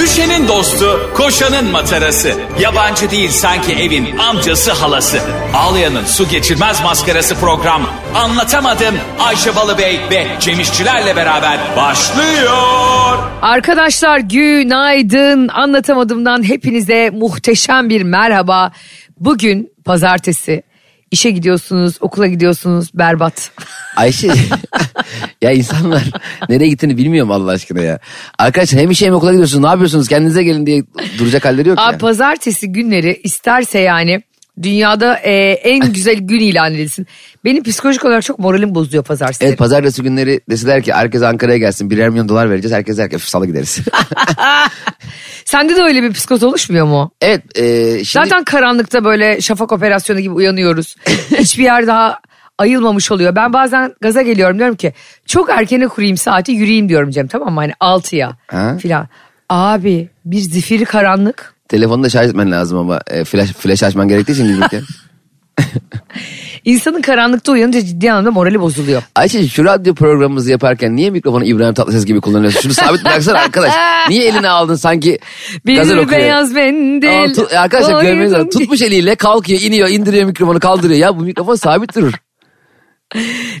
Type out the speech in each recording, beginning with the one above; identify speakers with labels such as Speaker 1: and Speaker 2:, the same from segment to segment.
Speaker 1: Ayşe'nin dostu, koşanın matarası. Yabancı değil sanki evin amcası halası. Ağlayan'ın su geçirmez maskarası program. Anlatamadım Ayşe Balıbey ve Cemişçilerle beraber başlıyor.
Speaker 2: Arkadaşlar günaydın. Anlatamadığımdan hepinize muhteşem bir merhaba. Bugün pazartesi. İşe gidiyorsunuz, okula gidiyorsunuz berbat.
Speaker 3: Ayşe ya insanlar nereye gittiğini bilmiyorum Allah aşkına ya. Arkadaşlar hem işe hem okula gidiyorsunuz ne yapıyorsunuz kendinize gelin diye duracak halleri yok
Speaker 2: Abi
Speaker 3: ya.
Speaker 2: pazartesi günleri isterse yani dünyada e, en güzel gün ilan edilsin. Benim psikolojik olarak çok moralim bozuluyor pazartesi.
Speaker 3: Evet pazartesi günleri deseler ki herkes Ankara'ya gelsin birer milyon dolar vereceğiz herkes der ki "Öf, salı gideriz.
Speaker 2: Sende de öyle bir psikoz oluşmuyor mu?
Speaker 3: evet e, şimdi
Speaker 2: Zaten karanlıkta böyle şafak operasyonu gibi uyanıyoruz. Hiçbir yer daha ayılmamış oluyor. Ben bazen gaza geliyorum diyorum ki çok erkene kurayım saati yürüyeyim diyorum Cem tamam mı? Hani 6'ya
Speaker 3: Ha?
Speaker 2: filan. Abi bir zifiri karanlık.
Speaker 3: telefonu da şarj etmen lazım ama e, flash, flash açman gerektiği için bizimki.
Speaker 2: İnsanın karanlıkta uyanınca ciddi anlamda morali bozuluyor.
Speaker 3: Ayşe şu radyo programımızı yaparken niye mikrofonu İbrahim Tatlıses gibi kullanıyorsun? Şunu sabit bıraksana arkadaş. Niye eline aldın sanki
Speaker 2: Bir
Speaker 3: gazel okuyor?
Speaker 2: beyaz mendil.
Speaker 3: Ama tu- arkadaşlar
Speaker 2: Boynum-
Speaker 3: görmeniz lazım. Tutmuş eliyle kalkıyor, iniyor, indiriyor mikrofonu, kaldırıyor. Ya bu mikrofon sabit durur.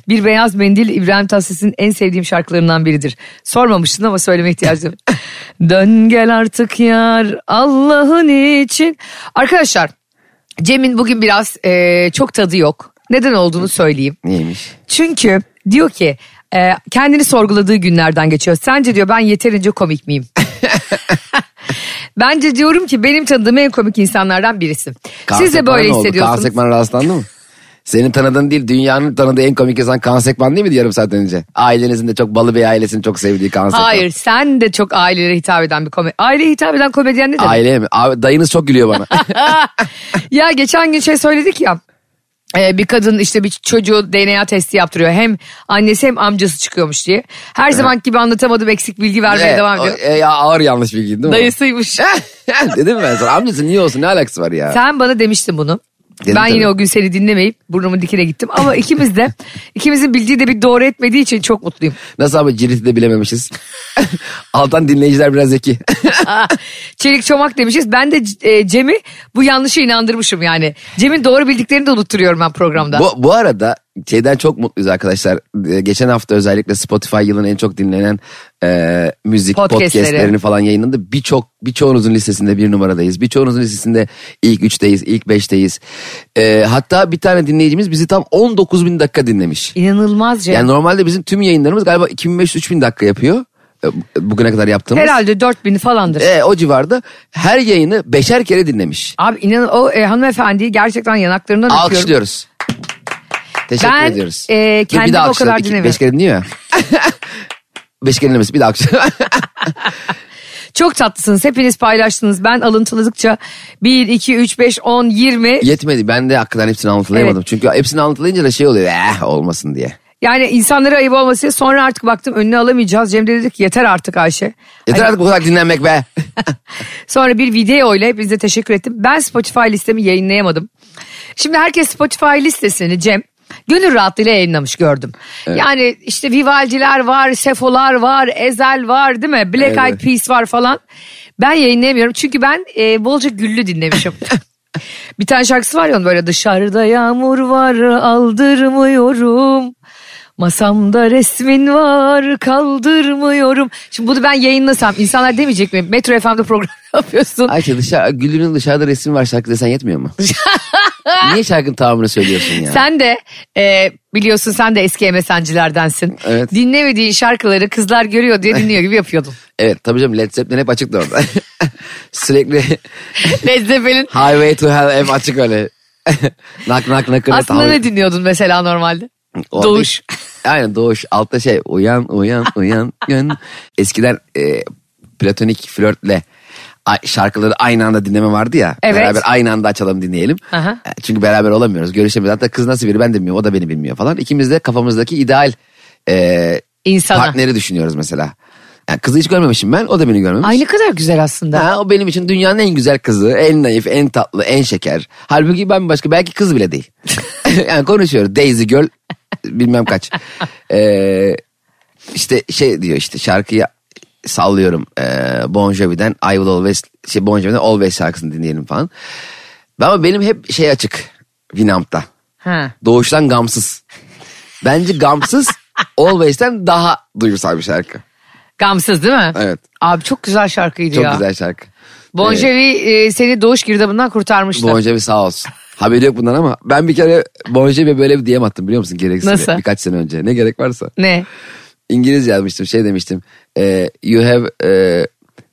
Speaker 2: Bir beyaz mendil İbrahim Tatlıses'in en sevdiğim şarkılarından biridir. Sormamıştın ama söyleme ihtiyacı yok. Dön gel artık yar Allah'ın için. Arkadaşlar Cem'in bugün biraz eee, çok tadı yok. Neden olduğunu söyleyeyim.
Speaker 3: Neymiş?
Speaker 2: Çünkü diyor ki e, kendini sorguladığı günlerden geçiyor. Sence diyor ben yeterince komik miyim? Bence diyorum ki benim tanıdığım en komik insanlardan birisi. Siz de
Speaker 3: Kaan
Speaker 2: böyle
Speaker 3: Sekman ne oldu? Kaan
Speaker 2: hissediyorsunuz.
Speaker 3: Sekman'a rastlandı mı? Senin tanıdığın değil, dünyanın tanıdığı en komik insan Kaan Sekman değil miydi yarım saat önce? Ailenizin de çok balı bir ailesini çok sevdiği Kaan Sekman.
Speaker 2: Hayır sen de çok ailelere hitap eden bir komedi. Aileye hitap eden komedyen ne demek?
Speaker 3: Aileye mi? Abi, dayınız çok gülüyor bana.
Speaker 2: Ya geçen gün şey söyledik ya. e, Bir kadın işte bir çocuğu DNA testi yaptırıyor. Hem annesi hem amcası çıkıyormuş diye. Her zaman gibi anlatamadım eksik bilgi vermeye
Speaker 3: Evet,
Speaker 2: devam
Speaker 3: o-
Speaker 2: ediyor.
Speaker 3: e, ya ağır yanlış bilgi değil mi?
Speaker 2: Dayısıymış.
Speaker 3: Dedim ben sana amcası niye olsun ne alakası var ya?
Speaker 2: Sen bana demiştin bunu.
Speaker 3: Dedim
Speaker 2: ben yine
Speaker 3: tabii.
Speaker 2: o gün seni dinlemeyip burnumun dikine gittim. Ama ikimiz de ikimizin bildiği de bir doğru etmediği için çok mutluyum.
Speaker 3: Nasıl abi ciriti de bilememişiz. Alttan dinleyiciler biraz zeki.
Speaker 2: Aa, Ah, Çelik çomak demişiz. Ben de e, Cem'i bu yanlışa inandırmışım yani. Cem'in doğru bildiklerini de unutturuyorum ben programda.
Speaker 3: Bu, bu arada şeyden çok mutluyuz arkadaşlar. Ee, geçen hafta özellikle Spotify yılın en çok dinlenen e, müzik
Speaker 2: Podcastleri.
Speaker 3: podcastlerini falan yayınlandı. Birçok birçoğunuzun listesinde bir numaradayız. Birçoğunuzun listesinde ilk üçteyiz, ilk beşteyiz. Ee, hatta bir tane dinleyicimiz bizi tam 19 bin dakika dinlemiş.
Speaker 2: İnanılmaz Cem.
Speaker 3: Yani normalde bizim tüm yayınlarımız galiba 2500-3000 dakika yapıyor. Ee, Bugüne kadar yaptığımız.
Speaker 2: Herhalde 4000 falandır.
Speaker 3: Ee, o civarda her yayını beşer kere dinlemiş.
Speaker 2: Abi inan o e, hanımefendiyi gerçekten yanaklarından öpüyorum.
Speaker 3: Alkışlıyoruz. Teşekkür
Speaker 2: Ben,
Speaker 3: ediyoruz.
Speaker 2: e,
Speaker 3: Dur,
Speaker 2: kendimi
Speaker 3: bir daha
Speaker 2: o
Speaker 3: alkışla.
Speaker 2: kadar
Speaker 3: İki-
Speaker 2: dinlemiyorum.
Speaker 3: Beş kere dinliyor ya. beş kere dinlemesi bir daha alkış.
Speaker 2: Çok tatlısınız. Hepiniz paylaştınız. Ben alıntıladıkça 1, 2, 3, 5, 10, 20
Speaker 3: Yetmedi ben de hakikaten hepsini anlatılayamadım.
Speaker 2: Evet.
Speaker 3: Çünkü hepsini anlatılayınca da şey oluyor eh olmasın diye.
Speaker 2: Yani insanlara ayıp olmasın diye sonra artık baktım önüne alamayacağız. Cem de dedi ki yeter artık Ayşe.
Speaker 3: Yeter
Speaker 2: Hani
Speaker 3: artık bu kadar dinlenmek be.
Speaker 2: Sonra bir video ile hepinize teşekkür ettim. Ben Spotify listemi yayınlayamadım. Şimdi herkes Spotify listesini Cem gönül rahatlığıyla yayınlamış gördüm. Yani işte Vivaldiler var, Sefolar var, Ezel var değil mi? Black Eyed
Speaker 3: Evet.
Speaker 2: Peas var falan. Ben yayınlayamıyorum çünkü ben e, bolca güllü dinlemişim. Bir tane şarkısı var ya onun böyle dışarıda yağmur var aldırmıyorum. Masamda resmin var kaldırmıyorum. Şimdi bunu ben yayınlasam insanlar demeyecek mi? Metro FM'de program yapıyorsun.
Speaker 3: Ayşe dışarı, Gülünün şey, dışarıda resmi var şarkı desen yetmiyor mu? Niye şarkının tamamını söylüyorsun ya?
Speaker 2: Sen de e, biliyorsun sen de eski MSN'cilerdensin.
Speaker 3: Evet.
Speaker 2: Dinlemediğin şarkıları kızlar görüyor diye dinliyor gibi yapıyordun.
Speaker 3: Evet tabii canım Led Zeppelin hep açıktı orada. Sürekli
Speaker 2: Led Zeppelin.
Speaker 3: Highway to Hell hep açık öyle. knock knock knock.
Speaker 2: Aslında ne dinliyordun mesela normalde?
Speaker 3: Orada-
Speaker 2: Doğuş.
Speaker 3: Aynen doğuş. Altta şey uyan uyan uyan gün. Eskiden e, platonik flörtle a- şarkıları aynı anda dinleme vardı ya.
Speaker 2: Evet.
Speaker 3: Beraber aynı anda açalım dinleyelim.
Speaker 2: Aha.
Speaker 3: E, Çünkü beraber olamıyoruz. Görüşemiyoruz. Hatta kız nasıl biri ben de bilmiyorum. O da beni bilmiyor falan. İkimiz de kafamızdaki ideal e,
Speaker 2: İnsana.
Speaker 3: partneri düşünüyoruz mesela. Yani kızı hiç görmemişim ben. O da beni görmemiş.
Speaker 2: Ay ne kadar güzel aslında.
Speaker 3: Ha, o benim için dünyanın en güzel kızı, en naif, en tatlı, en şeker. Halbuki ben başka belki kız bile değil. yani konuşuyoruz. Daisy Girl bilmem kaç. Ee, işte şey diyor işte şarkıyı sallıyorum eee Bon Jovi'den I Will Always şey Bon Jovi'den Always şarkısını dinleyelim falan. Ama benim hep şey açık Winamp'ta.
Speaker 2: Ha.
Speaker 3: Doğuştan gamsız. Bence gamsız Always'ten daha duygusal bir şarkı.
Speaker 2: Gamsız değil mi?
Speaker 3: Evet.
Speaker 2: Abi çok güzel şarkıydı
Speaker 3: Çok
Speaker 2: ya.
Speaker 3: güzel şarkı.
Speaker 2: Bon Jovi e, seni doğuş girdabından kurtarmıştı.
Speaker 3: Ee, Bon Jovi sağ olsun. Haberi yok bundan ama ben bir kere Bon Jovi'ye böyle bir DM attım biliyor musun gereksiz
Speaker 2: Nasıl?
Speaker 3: birkaç sene önce. Ne gerek varsa.
Speaker 2: ne?
Speaker 3: İngiliz yazmıştım şey demiştim. eee, you have eee,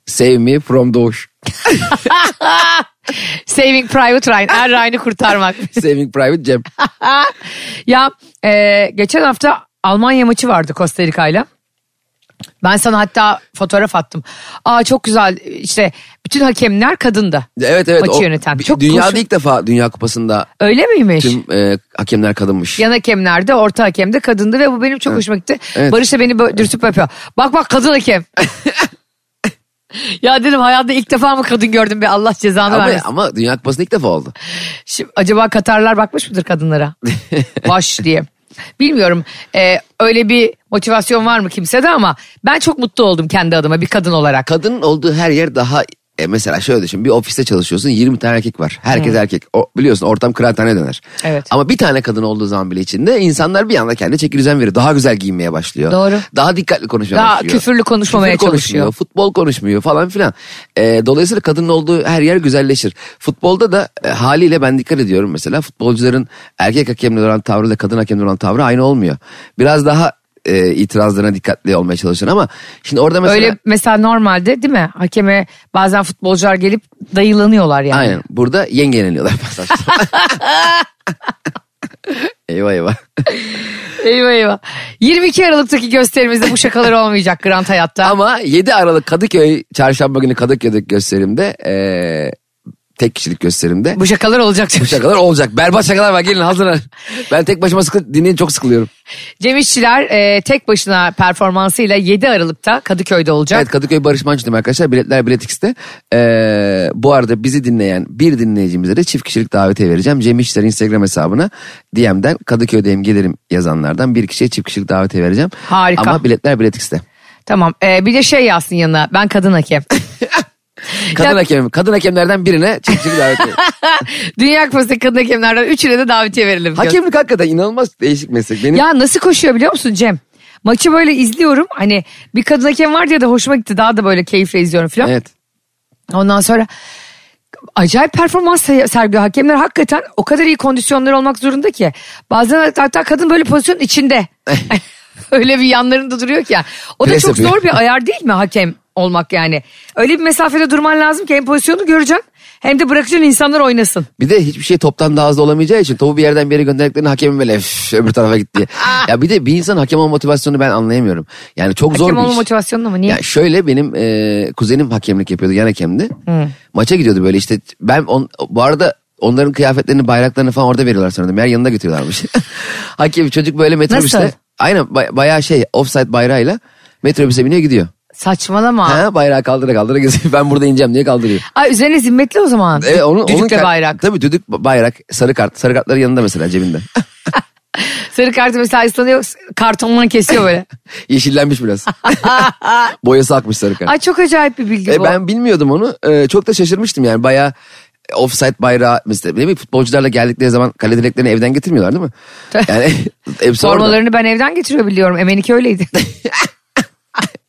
Speaker 3: saved me from doğuş.
Speaker 2: Saving Private Ryan. Er Ryan'ı kurtarmak.
Speaker 3: Saving Private Cem.
Speaker 2: ya e, geçen hafta Almanya maçı vardı Costa Rica'yla. Ben sana hatta fotoğraf attım. Aa çok güzel işte bütün hakemler kadında.
Speaker 3: Evet evet.
Speaker 2: Maçı yöneten.
Speaker 3: bir-
Speaker 2: Çok
Speaker 3: dünyada
Speaker 2: hoş-
Speaker 3: ilk defa Dünya Kupası'nda
Speaker 2: Öyle miymiş?
Speaker 3: tüm e, hakemler kadınmış.
Speaker 2: Yan hakemler de orta hakem de kadındı ve bu benim çok hoşuma gitti.
Speaker 3: Evet.
Speaker 2: Barış da beni böyle dürtüp öpüyor. Bak bak kadın hakem. ya dedim hayatta ilk defa mı kadın gördüm be Allah cezanı
Speaker 3: Ama,
Speaker 2: vermesin.
Speaker 3: ama Dünya Kupası'nda ilk defa oldu.
Speaker 2: Şimdi acaba Katarlar bakmış mıdır kadınlara? Baş diye. Bilmiyorum Ee, öyle bir motivasyon var mı kimsede ama ben çok mutlu oldum kendi adıma bir kadın olarak.
Speaker 3: Kadının olduğu her yer daha e, mesela şöyle düşün bir ofiste çalışıyorsun 20 tane erkek var. Herkes erkek. O, biliyorsun ortam kıraathane döner.
Speaker 2: Evet.
Speaker 3: Ama bir tane kadın olduğu zaman bile içinde insanlar bir anda kendine çeki düzen veriyor. Daha güzel giyinmeye başlıyor.
Speaker 2: Doğru.
Speaker 3: Daha dikkatli konuşmaya
Speaker 2: Daha
Speaker 3: başlıyor.
Speaker 2: küfürlü konuşmamaya
Speaker 3: konuşmuyor,
Speaker 2: çalışıyor.
Speaker 3: Futbol konuşmuyor falan filan. E, dolayısıyla kadının olduğu her yer güzelleşir. Futbolda da e, haliyle ben dikkat ediyorum mesela. Futbolcuların erkek hakemle olan tavrı da kadın hakemle olan tavrı aynı olmuyor. Biraz daha e, itirazlarına dikkatli olmaya çalışın ama şimdi orada mesela...
Speaker 2: Öyle mesela normalde değil mi? Hakeme bazen futbolcular gelip dayılanıyorlar yani.
Speaker 3: Aynen. Burada yengeleniyorlar pasajda. eyvah eyvah.
Speaker 2: Eyvah eyvah. 22 Aralık'taki gösterimizde bu şakalar olmayacak Grant Hayat'ta.
Speaker 3: Ama 7 Aralık Kadıköy çarşamba günü Kadıköy'deki gösterimde eee, tek kişilik gösterimde
Speaker 2: bu şakalar olacak.
Speaker 3: bu şakalar olacak. Berbat şakalar var gelin hazırlan. Ben tek başıma sıkı, dinleyin çok sıkılıyorum.
Speaker 2: Cem İşçiler e, tek başına performansıyla 7 Aralık'ta Kadıköy'de olacak.
Speaker 3: Evet Kadıköy Barış Manço'dayım arkadaşlar. Biletler Bilet X'te. Eee, bu arada bizi dinleyen bir dinleyicimize de çift kişilik davetiye vereceğim. Cem İşler Instagram hesabına DM'den Kadıköy'deyim gelirim yazanlardan bir kişiye çift kişilik davetiye vereceğim.
Speaker 2: Harika.
Speaker 3: Ama biletler Bilet X'te.
Speaker 2: Tamam e, bir de şey yazsın yanına ben kadın hakem.
Speaker 3: Kadın
Speaker 2: Ya-
Speaker 3: hakem, kadın hakemlerden birine çiftçilik davet ediyor.
Speaker 2: Dünya Kupası'nda kadın hakemlerden üçüne de davetiye verelim. diyor.
Speaker 3: Hakemlik hakikaten inanılmaz değişik meslek. Benim
Speaker 2: Ya nasıl koşuyor biliyor musun Cem? Maçı böyle izliyorum hani bir kadın hakem var diye de hoşuma gitti daha da böyle keyifle izliyorum falan.
Speaker 3: evet.
Speaker 2: Ondan sonra acayip performans se- sergiliyor hakemler hakikaten o kadar iyi kondisyonları olmak zorunda ki bazen hatta kadın böyle pozisyonun içinde öyle bir yanlarında duruyor ki yani. o da
Speaker 3: Pres
Speaker 2: çok
Speaker 3: yapıyor.
Speaker 2: zor bir ayar değil mi hakem olmak yani öyle bir mesafede durman lazım ki hem pozisyonu göreceksin hem de bırakacaksın insanlar oynasın
Speaker 3: Bir de hiçbir şey toptan daha hızlı olamayacağı için topu bir yerden bir yere gönderdiklerini hakemin böyle "Üf, öbür tarafa gitti diye. ya bir de bir insan hakem olma motivasyonunu ben anlayamıyorum. Yani çok zor
Speaker 2: hakem
Speaker 3: bir
Speaker 2: olma
Speaker 3: iş.
Speaker 2: motivasyonu mu niye
Speaker 3: Ya şöyle benim e, kuzenim hakemlik yapıyordu yan hakemdi. Maça gidiyordu böyle işte ben on, bu arada onların kıyafetlerini bayraklarını falan orada veriyorlar sanırım. Meğer yanında götürüyorlarmış. Hakem çocuk böyle metrobüste.
Speaker 2: Nasıl?
Speaker 3: Aynen bay- bayağı şey offside bayrağıyla metrobüse biniyor gidiyor.
Speaker 2: saçmalama
Speaker 3: Ha, bayrağı kaldıra kaldıra geziyor. Ben burada ineceğim diye kaldırıyor.
Speaker 2: Ay üzerine zimmetli o zaman.
Speaker 3: Evet, onun,
Speaker 2: Düdükle
Speaker 3: onun kar-
Speaker 2: bayrak.
Speaker 3: Tabii düdük bayrak sarı kart. Sarı kartları yanında mesela cebinde.
Speaker 2: Sarı kartı mesela ıslanıyor kartondan kesiyor böyle.
Speaker 3: Yeşillenmiş biraz. Boyası akmış sarı kart.
Speaker 2: Ay çok acayip bir bilgi
Speaker 3: E,
Speaker 2: bu.
Speaker 3: ben bilmiyordum onu. E, çok da şaşırmıştım yani bayağı offside bayrağı mesela ne bileyim futbolcularla geldikleri zaman kale direklerini evden getirmiyorlar değil mi? Yani hepsi orada.
Speaker 2: Formalarını ben evden getiriyor biliyorum. Emenike öyleydi.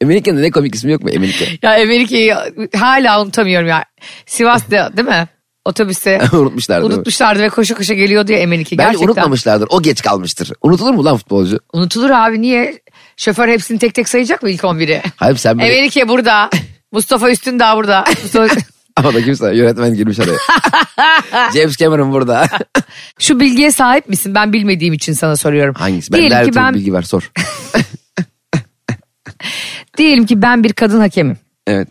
Speaker 3: Emenike'nin de ne komik ismi yok mu Emenike?
Speaker 2: ya Emenike'yi hala unutamıyorum ya. Sivas'ta değil mi? Otobüste
Speaker 3: Unutmuşlardı, değil mi?
Speaker 2: Unutmuşlardı ve koşa koşa geliyordu ya Emenike.
Speaker 3: Bence
Speaker 2: Gerçekten.
Speaker 3: unutmamışlardır. O geç kalmıştır. Unutulur mu lan futbolcu?
Speaker 2: Unutulur abi niye? Şoför hepsini tek tek sayacak mı ilk 11'i?
Speaker 3: Hayır sen böyle...
Speaker 2: Emenike burada. Mustafa Üstündağ burada. Mustafa-
Speaker 3: Ama da kimse yönetmen girmiş araya. James Cameron burada.
Speaker 2: Şu bilgiye sahip misin? Ben bilmediğim için sana soruyorum.
Speaker 3: Hangisi? Ben
Speaker 2: Diyelim
Speaker 3: her
Speaker 2: ki
Speaker 3: türlü
Speaker 2: ben
Speaker 3: bilgi ver sor.
Speaker 2: diyelim ki ben bir kadın hakemim.
Speaker 3: Evet.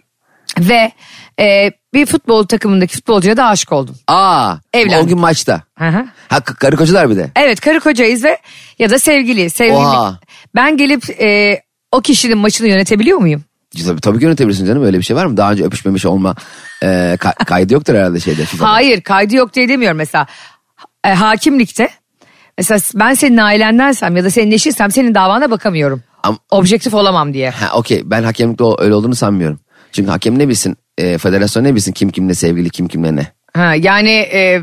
Speaker 2: ve e, bir futbol takımındaki futbolcuya da aşık oldum.
Speaker 3: Aa.
Speaker 2: Evlendik.
Speaker 3: O gün maçta.
Speaker 2: Hı hı.
Speaker 3: Ha k- karı kocalar bir de.
Speaker 2: Evet karı kocayız ve ya da sevgili sevgili.
Speaker 3: Oha.
Speaker 2: Ben gelip e, o kişinin maçını yönetebiliyor muyum?
Speaker 3: Tabii, tabii ki yönetebilirsin canım öyle bir şey var mı? Daha önce öpüşmemiş olma e, ka- kaydı yoktur herhalde şeyde. FIFA'da.
Speaker 2: Hayır kaydı yok diye demiyorum mesela. E, hakimlikte mesela ben senin ailendensem ya da senin eşinsem senin davana bakamıyorum.
Speaker 3: Ama-
Speaker 2: objektif olamam diye.
Speaker 3: Ha okey ben hakemlikte o- öyle olduğunu sanmıyorum. Çünkü hakem ne bilsin? e, federasyon ne bilsin? Kim kimle sevgili kim kimle ne?
Speaker 2: Ha, yani e,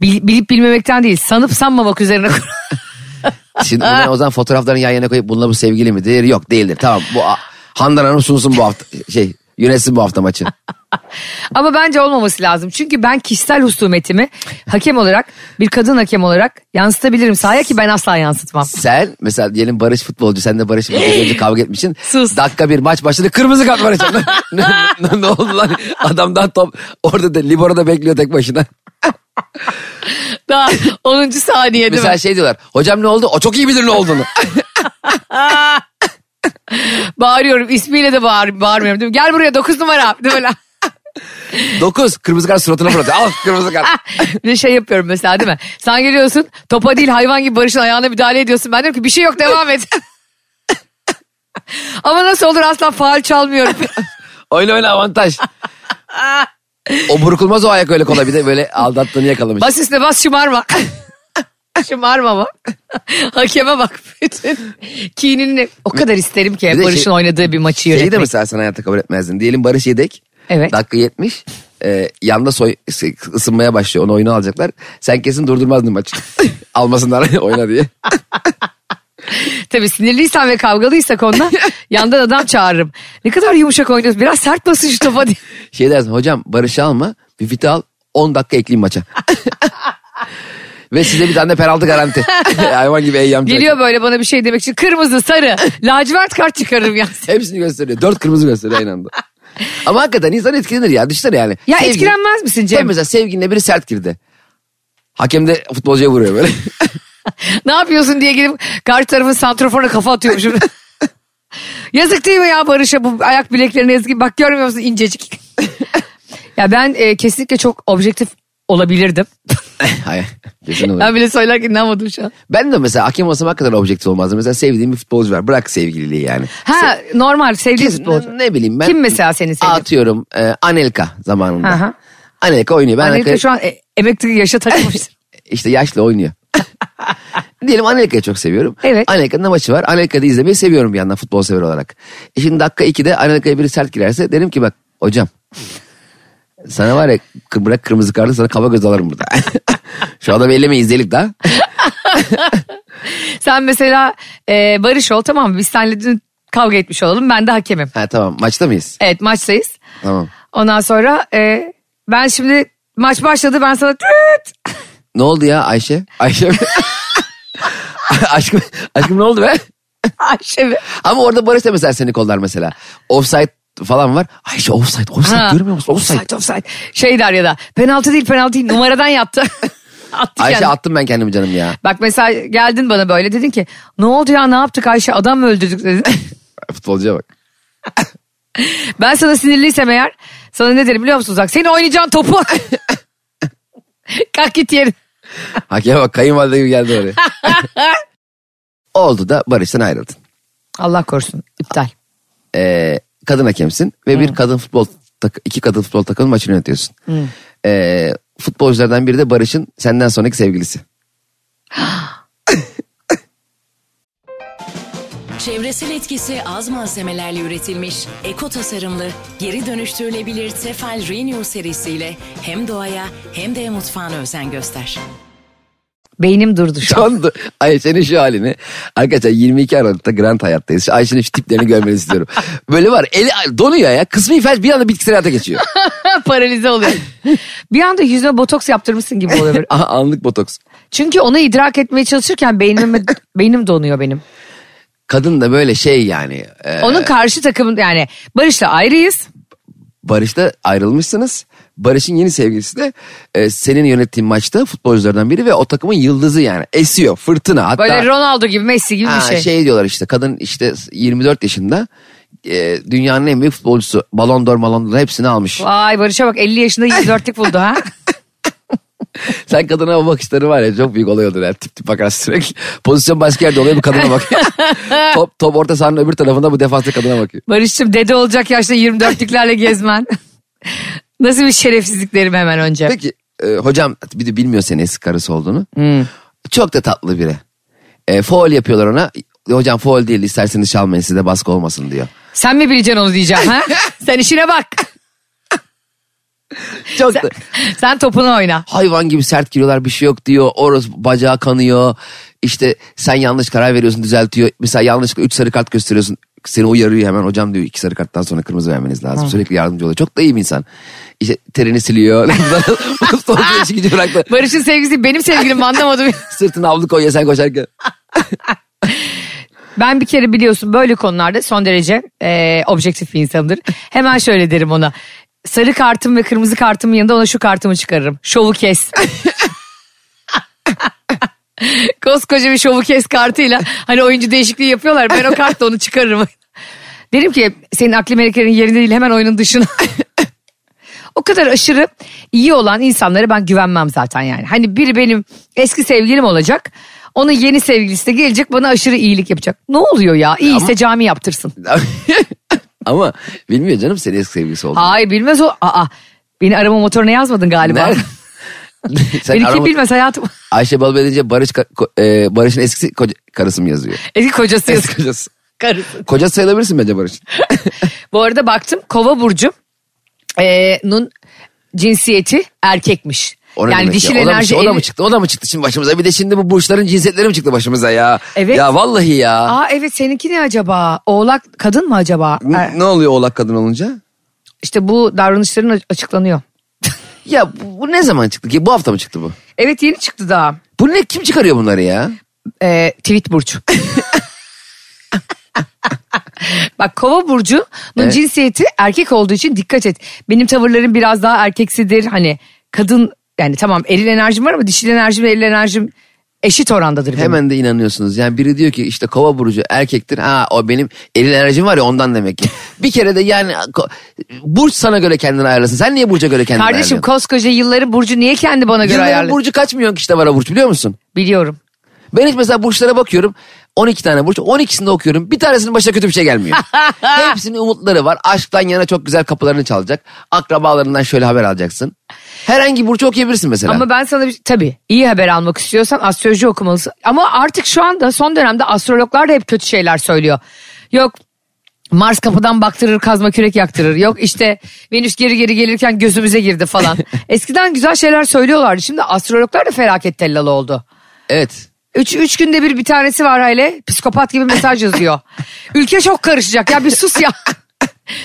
Speaker 2: bil- bilip bilmemekten değil sanıp sanmamak üzerine kur-
Speaker 3: Şimdi bunlar o zaman fotoğraflarını yan yana koyup bununla bu sevgili midir? Yok değildir. Tamam bu a- Handan Hanım sunsun bu hafta şey yönetsin bu hafta maçı.
Speaker 2: Ama bence olmaması lazım. Çünkü ben kişisel husumetimi hakem olarak bir kadın hakem olarak yansıtabilirim sahaya ki ben asla yansıtmam.
Speaker 3: Sen mesela diyelim Barış futbolcu sen de Barış futbolcu önce kavga etmişsin.
Speaker 2: Sus.
Speaker 3: Dakika bir maç başladı kırmızı kart var içeride. ne, ne- ne oldu lan? Adamdan top orada da Libora'da bekliyor tek başına.
Speaker 2: Daha 10. saniyede
Speaker 3: Mesela şey diyorlar hocam ne oldu? O çok iyi bilir ne olduğunu.
Speaker 2: bağırıyorum ismiyle de bağır, bağırmıyorum değil mi? Gel buraya 9 numara değil mi lan?
Speaker 3: 9 kırmızı kart suratına fırlatıyor. Al kırmızı kart.
Speaker 2: bir de şey yapıyorum mesela değil mi? Sen geliyorsun topa değil hayvan gibi Barış'ın ayağına müdahale ediyorsun. Ben diyorum ki bir şey yok devam et. Ama nasıl olur asla faal çalmıyorum.
Speaker 3: Oyna oyna avantaj. o burkulmaz o ayak öyle kolay bir de böyle aldattığını yakalamış.
Speaker 2: bas üstüne bas şımarma. şımarma bak. Hakeme bak. Bütün kinini o kadar isterim ki
Speaker 3: Bir de
Speaker 2: Barış'ın
Speaker 3: şey-
Speaker 2: oynadığı bir maçı
Speaker 3: Şeyi de
Speaker 2: yönetmek.
Speaker 3: mesela sen hayatta kabul etmezdin. Diyelim Barış Yedek.
Speaker 2: Evet.
Speaker 3: Dakika 70. Ee, yanda soy ısınmaya başlıyor. Onu oyuna alacaklar. Sen kesin durdurmazdın maçı. Almasınlar oyna diye.
Speaker 2: Tabii sinirliysen ve kavgalıysak ondan yandan adam çağırırım. Ne kadar yumuşak oynuyorsun. Biraz sert basın şu topa diye.
Speaker 3: Şey dersin hocam Barış'ı alma. Bir fiti al. 10 dakika ekleyeyim maça. Ve size bir tane de penaltı garanti. Hayvan gibi eyyam.
Speaker 2: Geliyor böyle bana bir şey demek için kırmızı, sarı, lacivert kart çıkarırım ya.
Speaker 3: Hepsini gösteriyor. Dört kırmızı gösteriyor aynı anda. Ama hakikaten insan etkilenir ya. Düşünsene yani.
Speaker 2: Ya
Speaker 3: Sevgili-
Speaker 2: etkilenmez misin Cem?
Speaker 3: Tabii mesela sevgilinle biri sert girdi. Hakem de futbolcuya vuruyor böyle.
Speaker 2: ne yapıyorsun diye gelip karşı tarafın santraforuna kafa atıyormuşum. Yazık değil mi ya Barış'a bu ayak bileklerine yazık Bak görmüyor musun incecik. ya ben e, kesinlikle çok objektif olabilirdim.
Speaker 3: Hayır. Kesin olur.
Speaker 2: Ben bile söylerken inanmadım şu an.
Speaker 3: Ben de mesela hakem olsam hakikaten objektif olmazdım. Mesela sevdiğim bir futbolcu var. Bırak sevgililiği yani.
Speaker 2: Ha normal sevdiğin
Speaker 3: Kesin,
Speaker 2: futbolcu.
Speaker 3: ne, ne bileyim ben.
Speaker 2: Kim mesela seni sevdiğin?
Speaker 3: Atıyorum e, Anelka zamanında.
Speaker 2: Aha.
Speaker 3: Anelka oynuyor. Ben
Speaker 2: Amerika
Speaker 3: Anelka'yı-
Speaker 2: şu an e, emekli yaşa takılmış.
Speaker 3: İşte yaşlı oynuyor. Diyelim Anelka'yı çok seviyorum.
Speaker 2: Evet.
Speaker 3: Anelka'nın da maçı var. Anelka'yı da izlemeyi seviyorum bir yandan futbol sever olarak. E şimdi dakika 2'de Anelka'ya biri sert girerse derim ki bak hocam sana var ya kı- bırak kırmızı kartı sana kaba göz alırım burada. Şu adamı ellemeyi izleyelim daha.
Speaker 2: Sen mesela e, Barış ol tamam mı? Biz seninle dün kavga etmiş olalım. Ben de hakemim.
Speaker 3: Ha tamam maçta mıyız?
Speaker 2: Evet maçtayız.
Speaker 3: Tamam.
Speaker 2: Ondan sonra e, ben şimdi maç başladı ben sana tüt
Speaker 3: Ne oldu ya Ayşe? Ayşe aşkım, aşkım ne oldu be?
Speaker 2: Ayşe mi?
Speaker 3: Ama orada Barış da mesela seni kollar mesela. Offside falan var. Ayşe offside, offside
Speaker 2: Ha.
Speaker 3: görmüyor musun? Offside.
Speaker 2: Offside offside. Şey der ya da penaltı değil penaltı değil numaradan yaptı. Attı
Speaker 3: Ayşe
Speaker 2: kendini.
Speaker 3: attım ben kendimi canım ya.
Speaker 2: Bak mesela geldin bana böyle dedin ki ne oldu ya ne yaptık Ayşe adam mı öldürdük dedin.
Speaker 3: Futbolcuya bak.
Speaker 2: ben sana sinirliysem eğer sana ne derim biliyor musun Uzak? Seni oynayacağın topu. Kalk git yerin.
Speaker 3: Hakeme bak kayınvalide gibi geldi oraya. Oldu da Barış'tan ayrıldın.
Speaker 2: Allah korusun iptal.
Speaker 3: Ee, kadın hakemsin ve bir kadın futbol tak- iki kadın futbol takımının maçını yönetiyorsun. Ee, futbolculardan biri de Barış'ın senden sonraki sevgilisi.
Speaker 4: Çevresel etkisi az malzemelerle üretilmiş, eko tasarımlı, geri dönüştürülebilir Tefal Renew serisiyle hem doğaya hem de mutfağına özen göster.
Speaker 2: Beynim durdu şu an.
Speaker 3: Can da- Ayşe'nin şu halini. Arkadaşlar 22 Aralık'ta Grand Hayat'tayız. Şu Ayşe'nin şu tiplerini görmeni istiyorum. Böyle var eli donuyor ya. Kısmi felç bir anda bitkisel hayata geçiyor.
Speaker 2: Paralize oluyor. bir anda yüzüme botoks yaptırmışsın gibi oluyor. böyle.
Speaker 3: Aha, Anlık botoks.
Speaker 2: Çünkü onu idrak etmeye çalışırken beynime, beynim donuyor benim.
Speaker 3: Kadın da böyle şey yani. e,
Speaker 2: Onun karşı takımın yani Barış'la ayrıyız.
Speaker 3: Barış'ta ayrılmışsınız. Barış'ın yeni sevgilisi de e, senin yönettiğin maçta futbolculardan biri ve o takımın yıldızı yani. Esiyor fırtına. Hatta
Speaker 2: Böyle Ronaldo gibi Messi gibi
Speaker 3: Ha,
Speaker 2: bir şey.
Speaker 3: şey diyorlar işte kadın işte 24 yaşında e, dünyanın en büyük futbolcusu. Balon d'Or, Malon d'Or hepsini almış.
Speaker 2: Vay Barış'a bak 50 yaşında 24'lük buldu ha.
Speaker 3: Sen kadına o bakışları var ya çok büyük oluyordur yani. Tip tip bakarsın sürekli. Pozisyon başka yerde oluyor bu kadına bak. top, top orta sahanın öbür tarafında bu defanslı kadına bakıyor.
Speaker 2: Barış'cığım dede olacak yaşta 24'lüklerle gezmen. Nasıl bir şerefsizlik derim hemen önce.
Speaker 3: Peki e, hocam bir de bilmiyor senin eski karısı olduğunu. Çok da tatlı biri. E, foul yapıyorlar ona. hocam foul değil isterseniz çalmayın size baskı olmasın diyor.
Speaker 2: Sen mi bileceksin onu diyeceğim ha? Sen işine bak.
Speaker 3: Çok
Speaker 2: Sen,
Speaker 3: da-
Speaker 2: sen topunu oyna.
Speaker 3: hayvan gibi sert giriyorlar bir şey yok diyor. Orası bacağı kanıyor. İşte sen yanlış karar veriyorsun düzeltiyor. Mesela yanlışlıkla 3 sarı kart gösteriyorsun. Seni uyarıyor hemen hocam diyor iki sarı karttan sonra kırmızı vermeniz lazım. Sürekli yardımcı oluyor. Çok da iyi bir insan. İşte terini siliyor. Sonra işi gücü bıraktı.
Speaker 2: Barış'ın sevgisi benim sevgilim anlamadım.
Speaker 3: Sırtına havlu koyuyor sen koşarken.
Speaker 2: Ben bir kere biliyorsun böyle konularda son derece e, objektif bir insanımdır. Hemen şöyle derim ona. Sarı kartım ve kırmızı kartımın yanında ona şu kartımı çıkarırım. Şovu kes. Koskoca bir şovu kes kartıyla hani oyuncu değişikliği yapıyorlar. Ben o kartla onu çıkarırım. Derim ki senin akli melekenin yerinde değil hemen oyunun dışına. o kadar aşırı iyi olan insanlara ben güvenmem zaten yani. Hani biri benim eski sevgilim olacak. Onun yeni sevgilisi de gelecek bana aşırı iyilik yapacak. Ne oluyor ya? İyiyse cami yaptırsın.
Speaker 3: Ama bilmiyor canım senin eski sevgilisi oldu.
Speaker 2: Hayır bilmez o. Aa, beni arama motoruna yazmadın galiba.
Speaker 3: sen
Speaker 2: Beni kim
Speaker 3: arama-
Speaker 2: bilmez hayatım.
Speaker 3: Ayşe Balı Belediyece Barış, Ka- Ko- e, Barış'ın eski koca- karısı mı yazıyor?
Speaker 2: Eski kocası yazık.
Speaker 3: kocası.
Speaker 2: Karısı.
Speaker 3: Kocası sayılabilirsin bence Barış'ın.
Speaker 2: Bu arada baktım kova burcu e, nun cinsiyeti erkekmiş.
Speaker 3: O ne
Speaker 2: yani
Speaker 3: demek
Speaker 2: dişil
Speaker 3: ya? O da mı-
Speaker 2: enerji
Speaker 3: O da
Speaker 2: eli-
Speaker 3: mı çıktı? O da mı çıktı şimdi başımıza? Bir de şimdi bu burçların cinsiyetleri mi çıktı başımıza ya?
Speaker 2: Evet.
Speaker 3: Ya vallahi ya.
Speaker 2: Aa evet seninki ne acaba? Oğlak kadın mı acaba?
Speaker 3: N-
Speaker 2: Er-
Speaker 3: Ne oluyor oğlak kadın olunca?
Speaker 2: İşte bu davranışların a- açıklanıyor.
Speaker 3: Ya bu, bu ne zaman çıktı ki? Bu hafta mı çıktı bu?
Speaker 2: Evet yeni çıktı daha.
Speaker 3: Bu ne? Kim çıkarıyor bunları ya?
Speaker 2: Ee, tweet burcu. Bak kova burcunun
Speaker 3: Evet.
Speaker 2: cinsiyeti erkek olduğu için dikkat et. Benim tavırlarım biraz daha erkeksidir. Hani kadın yani tamam eril enerjim var ama dişil enerjim ve eril enerjim eşit orandadır. benim.
Speaker 3: Hemen de inanıyorsunuz. Yani biri diyor ki işte kova burcu erkektir. Ha o benim eril enerjim var ya ondan demek ki. Bir kere de yani ko- burç sana göre kendini ayarlasın. Sen niye burca göre kendini
Speaker 2: Kardeşim
Speaker 3: ayarlıyorsun?
Speaker 2: koskoca yılların burcu niye kendi bana göre
Speaker 3: Yılların
Speaker 2: ayarladı?
Speaker 3: burcu kaç milyon kişi de var o burç biliyor musun?
Speaker 2: Biliyorum.
Speaker 3: Ben hiç mesela burçlara bakıyorum. 12 tane burç. 12'sinde okuyorum. Bir tanesinin başına kötü bir şey gelmiyor. Hepsinin umutları var. Aşktan yana çok güzel kapılarını çalacak. Akrabalarından şöyle haber alacaksın. Herhangi burcu okuyabilirsin mesela.
Speaker 2: Ama ben sana bir, şey, tabii iyi haber almak istiyorsan astroloji okumalısın. Ama artık şu anda son dönemde astrologlar da hep kötü şeyler söylüyor. Yok Mars kapıdan baktırır kazma kürek yaktırır. Yok işte Venüs geri geri gelirken gözümüze girdi falan. Eskiden güzel şeyler söylüyorlardı. Şimdi astrologlar da felaket tellal oldu.
Speaker 3: Evet.
Speaker 2: Üç, üç günde bir bir tanesi var hele psikopat gibi mesaj yazıyor. Ülke çok karışacak ya bir sus ya.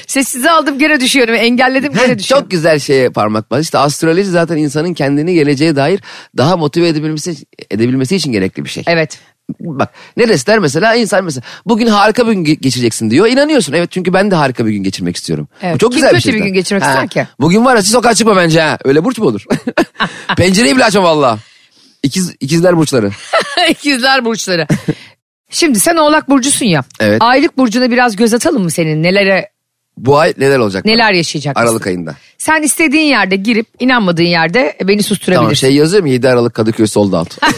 Speaker 2: Sessize aldım gene düşüyorum engelledim gene düşüyorum.
Speaker 3: Çok güzel şeye parmak bas. İşte astroloji zaten insanın kendini geleceğe dair daha motive edebilmesi, edebilmesi için gerekli bir şey.
Speaker 2: Evet.
Speaker 3: Bak ne der mesela insan mesela bugün harika bir gün ge- geçireceksin diyor. İnanıyorsun evet çünkü ben de harika bir gün geçirmek istiyorum.
Speaker 2: Evet,
Speaker 3: Bu çok
Speaker 2: kim
Speaker 3: güzel bir
Speaker 2: kötü
Speaker 3: şey.
Speaker 2: bir
Speaker 3: zaten.
Speaker 2: gün geçirmek
Speaker 3: Ha,
Speaker 2: ister ki?
Speaker 3: Bugün var ya siz sokağa çıkma bence ha. Öyle burç mu olur? Pencereyi bile açma valla. İkiz, ikizler burçları.
Speaker 2: İkizler burçları. Şimdi sen Oğlak burcusun ya.
Speaker 3: Evet.
Speaker 2: Aylık burcuna biraz göz atalım mı senin? Nelere
Speaker 3: Bu ay neler olacak?
Speaker 2: neler yaşayacak?
Speaker 3: Aralık ayında.
Speaker 2: Sen istediğin yerde girip inanmadığın yerde beni
Speaker 3: Tamam
Speaker 2: susturabilirsin.
Speaker 3: şey yazıyor mu 7 Aralık Kadıköy sold out. şey-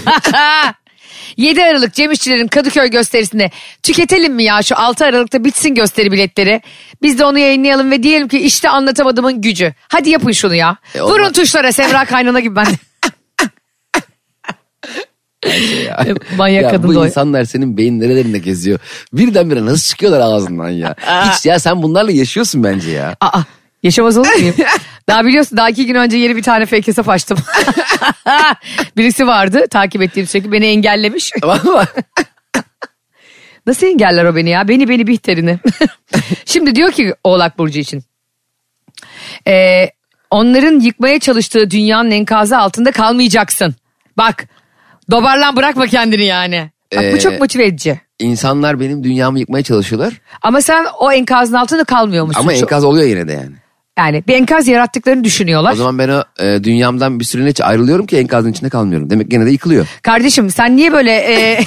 Speaker 2: 7 Aralık Cem İşçilerin Kadıköy gösterisinde tüketelim mi ya şu 6 Aralık'ta bitsin gösteri biletleri. Biz de onu yayınlayalım ve diyelim ki işte anlatamadığımın gücü. Hadi yapın şunu ya.
Speaker 3: E, olmaz.
Speaker 2: Vurun tuşlara Semra Kaynana gibi ben. de. E, Manyak
Speaker 3: şey ya
Speaker 2: kadın
Speaker 3: bu
Speaker 2: da o.
Speaker 3: insanlar senin beyin nerelerinde geziyor. Birdenbire nasıl çıkıyorlar ağzından ya.
Speaker 2: Ah.
Speaker 3: Hiç ya sen bunlarla yaşıyorsun bence ya.
Speaker 2: Aa, yaşamaz olur muyum? daha biliyorsun daha iki gün önce yeni bir tane fake hesap açtım. Birisi vardı takip ettiğim sürekli beni engellemiş.
Speaker 3: Tamam mı?
Speaker 2: Nasıl engeller o beni ya? Beni beni bihterini. Şimdi diyor ki Oğlak Burcu için. Ee, onların yıkmaya çalıştığı dünyanın enkazı altında kalmayacaksın. Bak dobarlan bırakma kendini yani. Bak, bu
Speaker 3: Ee,
Speaker 2: çok motive edici.
Speaker 3: İnsanlar benim dünyamı yıkmaya çalışıyorlar.
Speaker 2: Ama sen o enkazın altında kalmıyormuşsun.
Speaker 3: Ama
Speaker 2: Çok-
Speaker 3: enkaz oluyor yine de yani.
Speaker 2: Yani bir enkaz yarattıklarını düşünüyorlar.
Speaker 3: O zaman ben o e, dünyamdan bir süreliğine hiç ayrılıyorum ki enkazın içinde kalmıyorum. Demek gene de yıkılıyor.
Speaker 2: Kardeşim sen niye böyle e,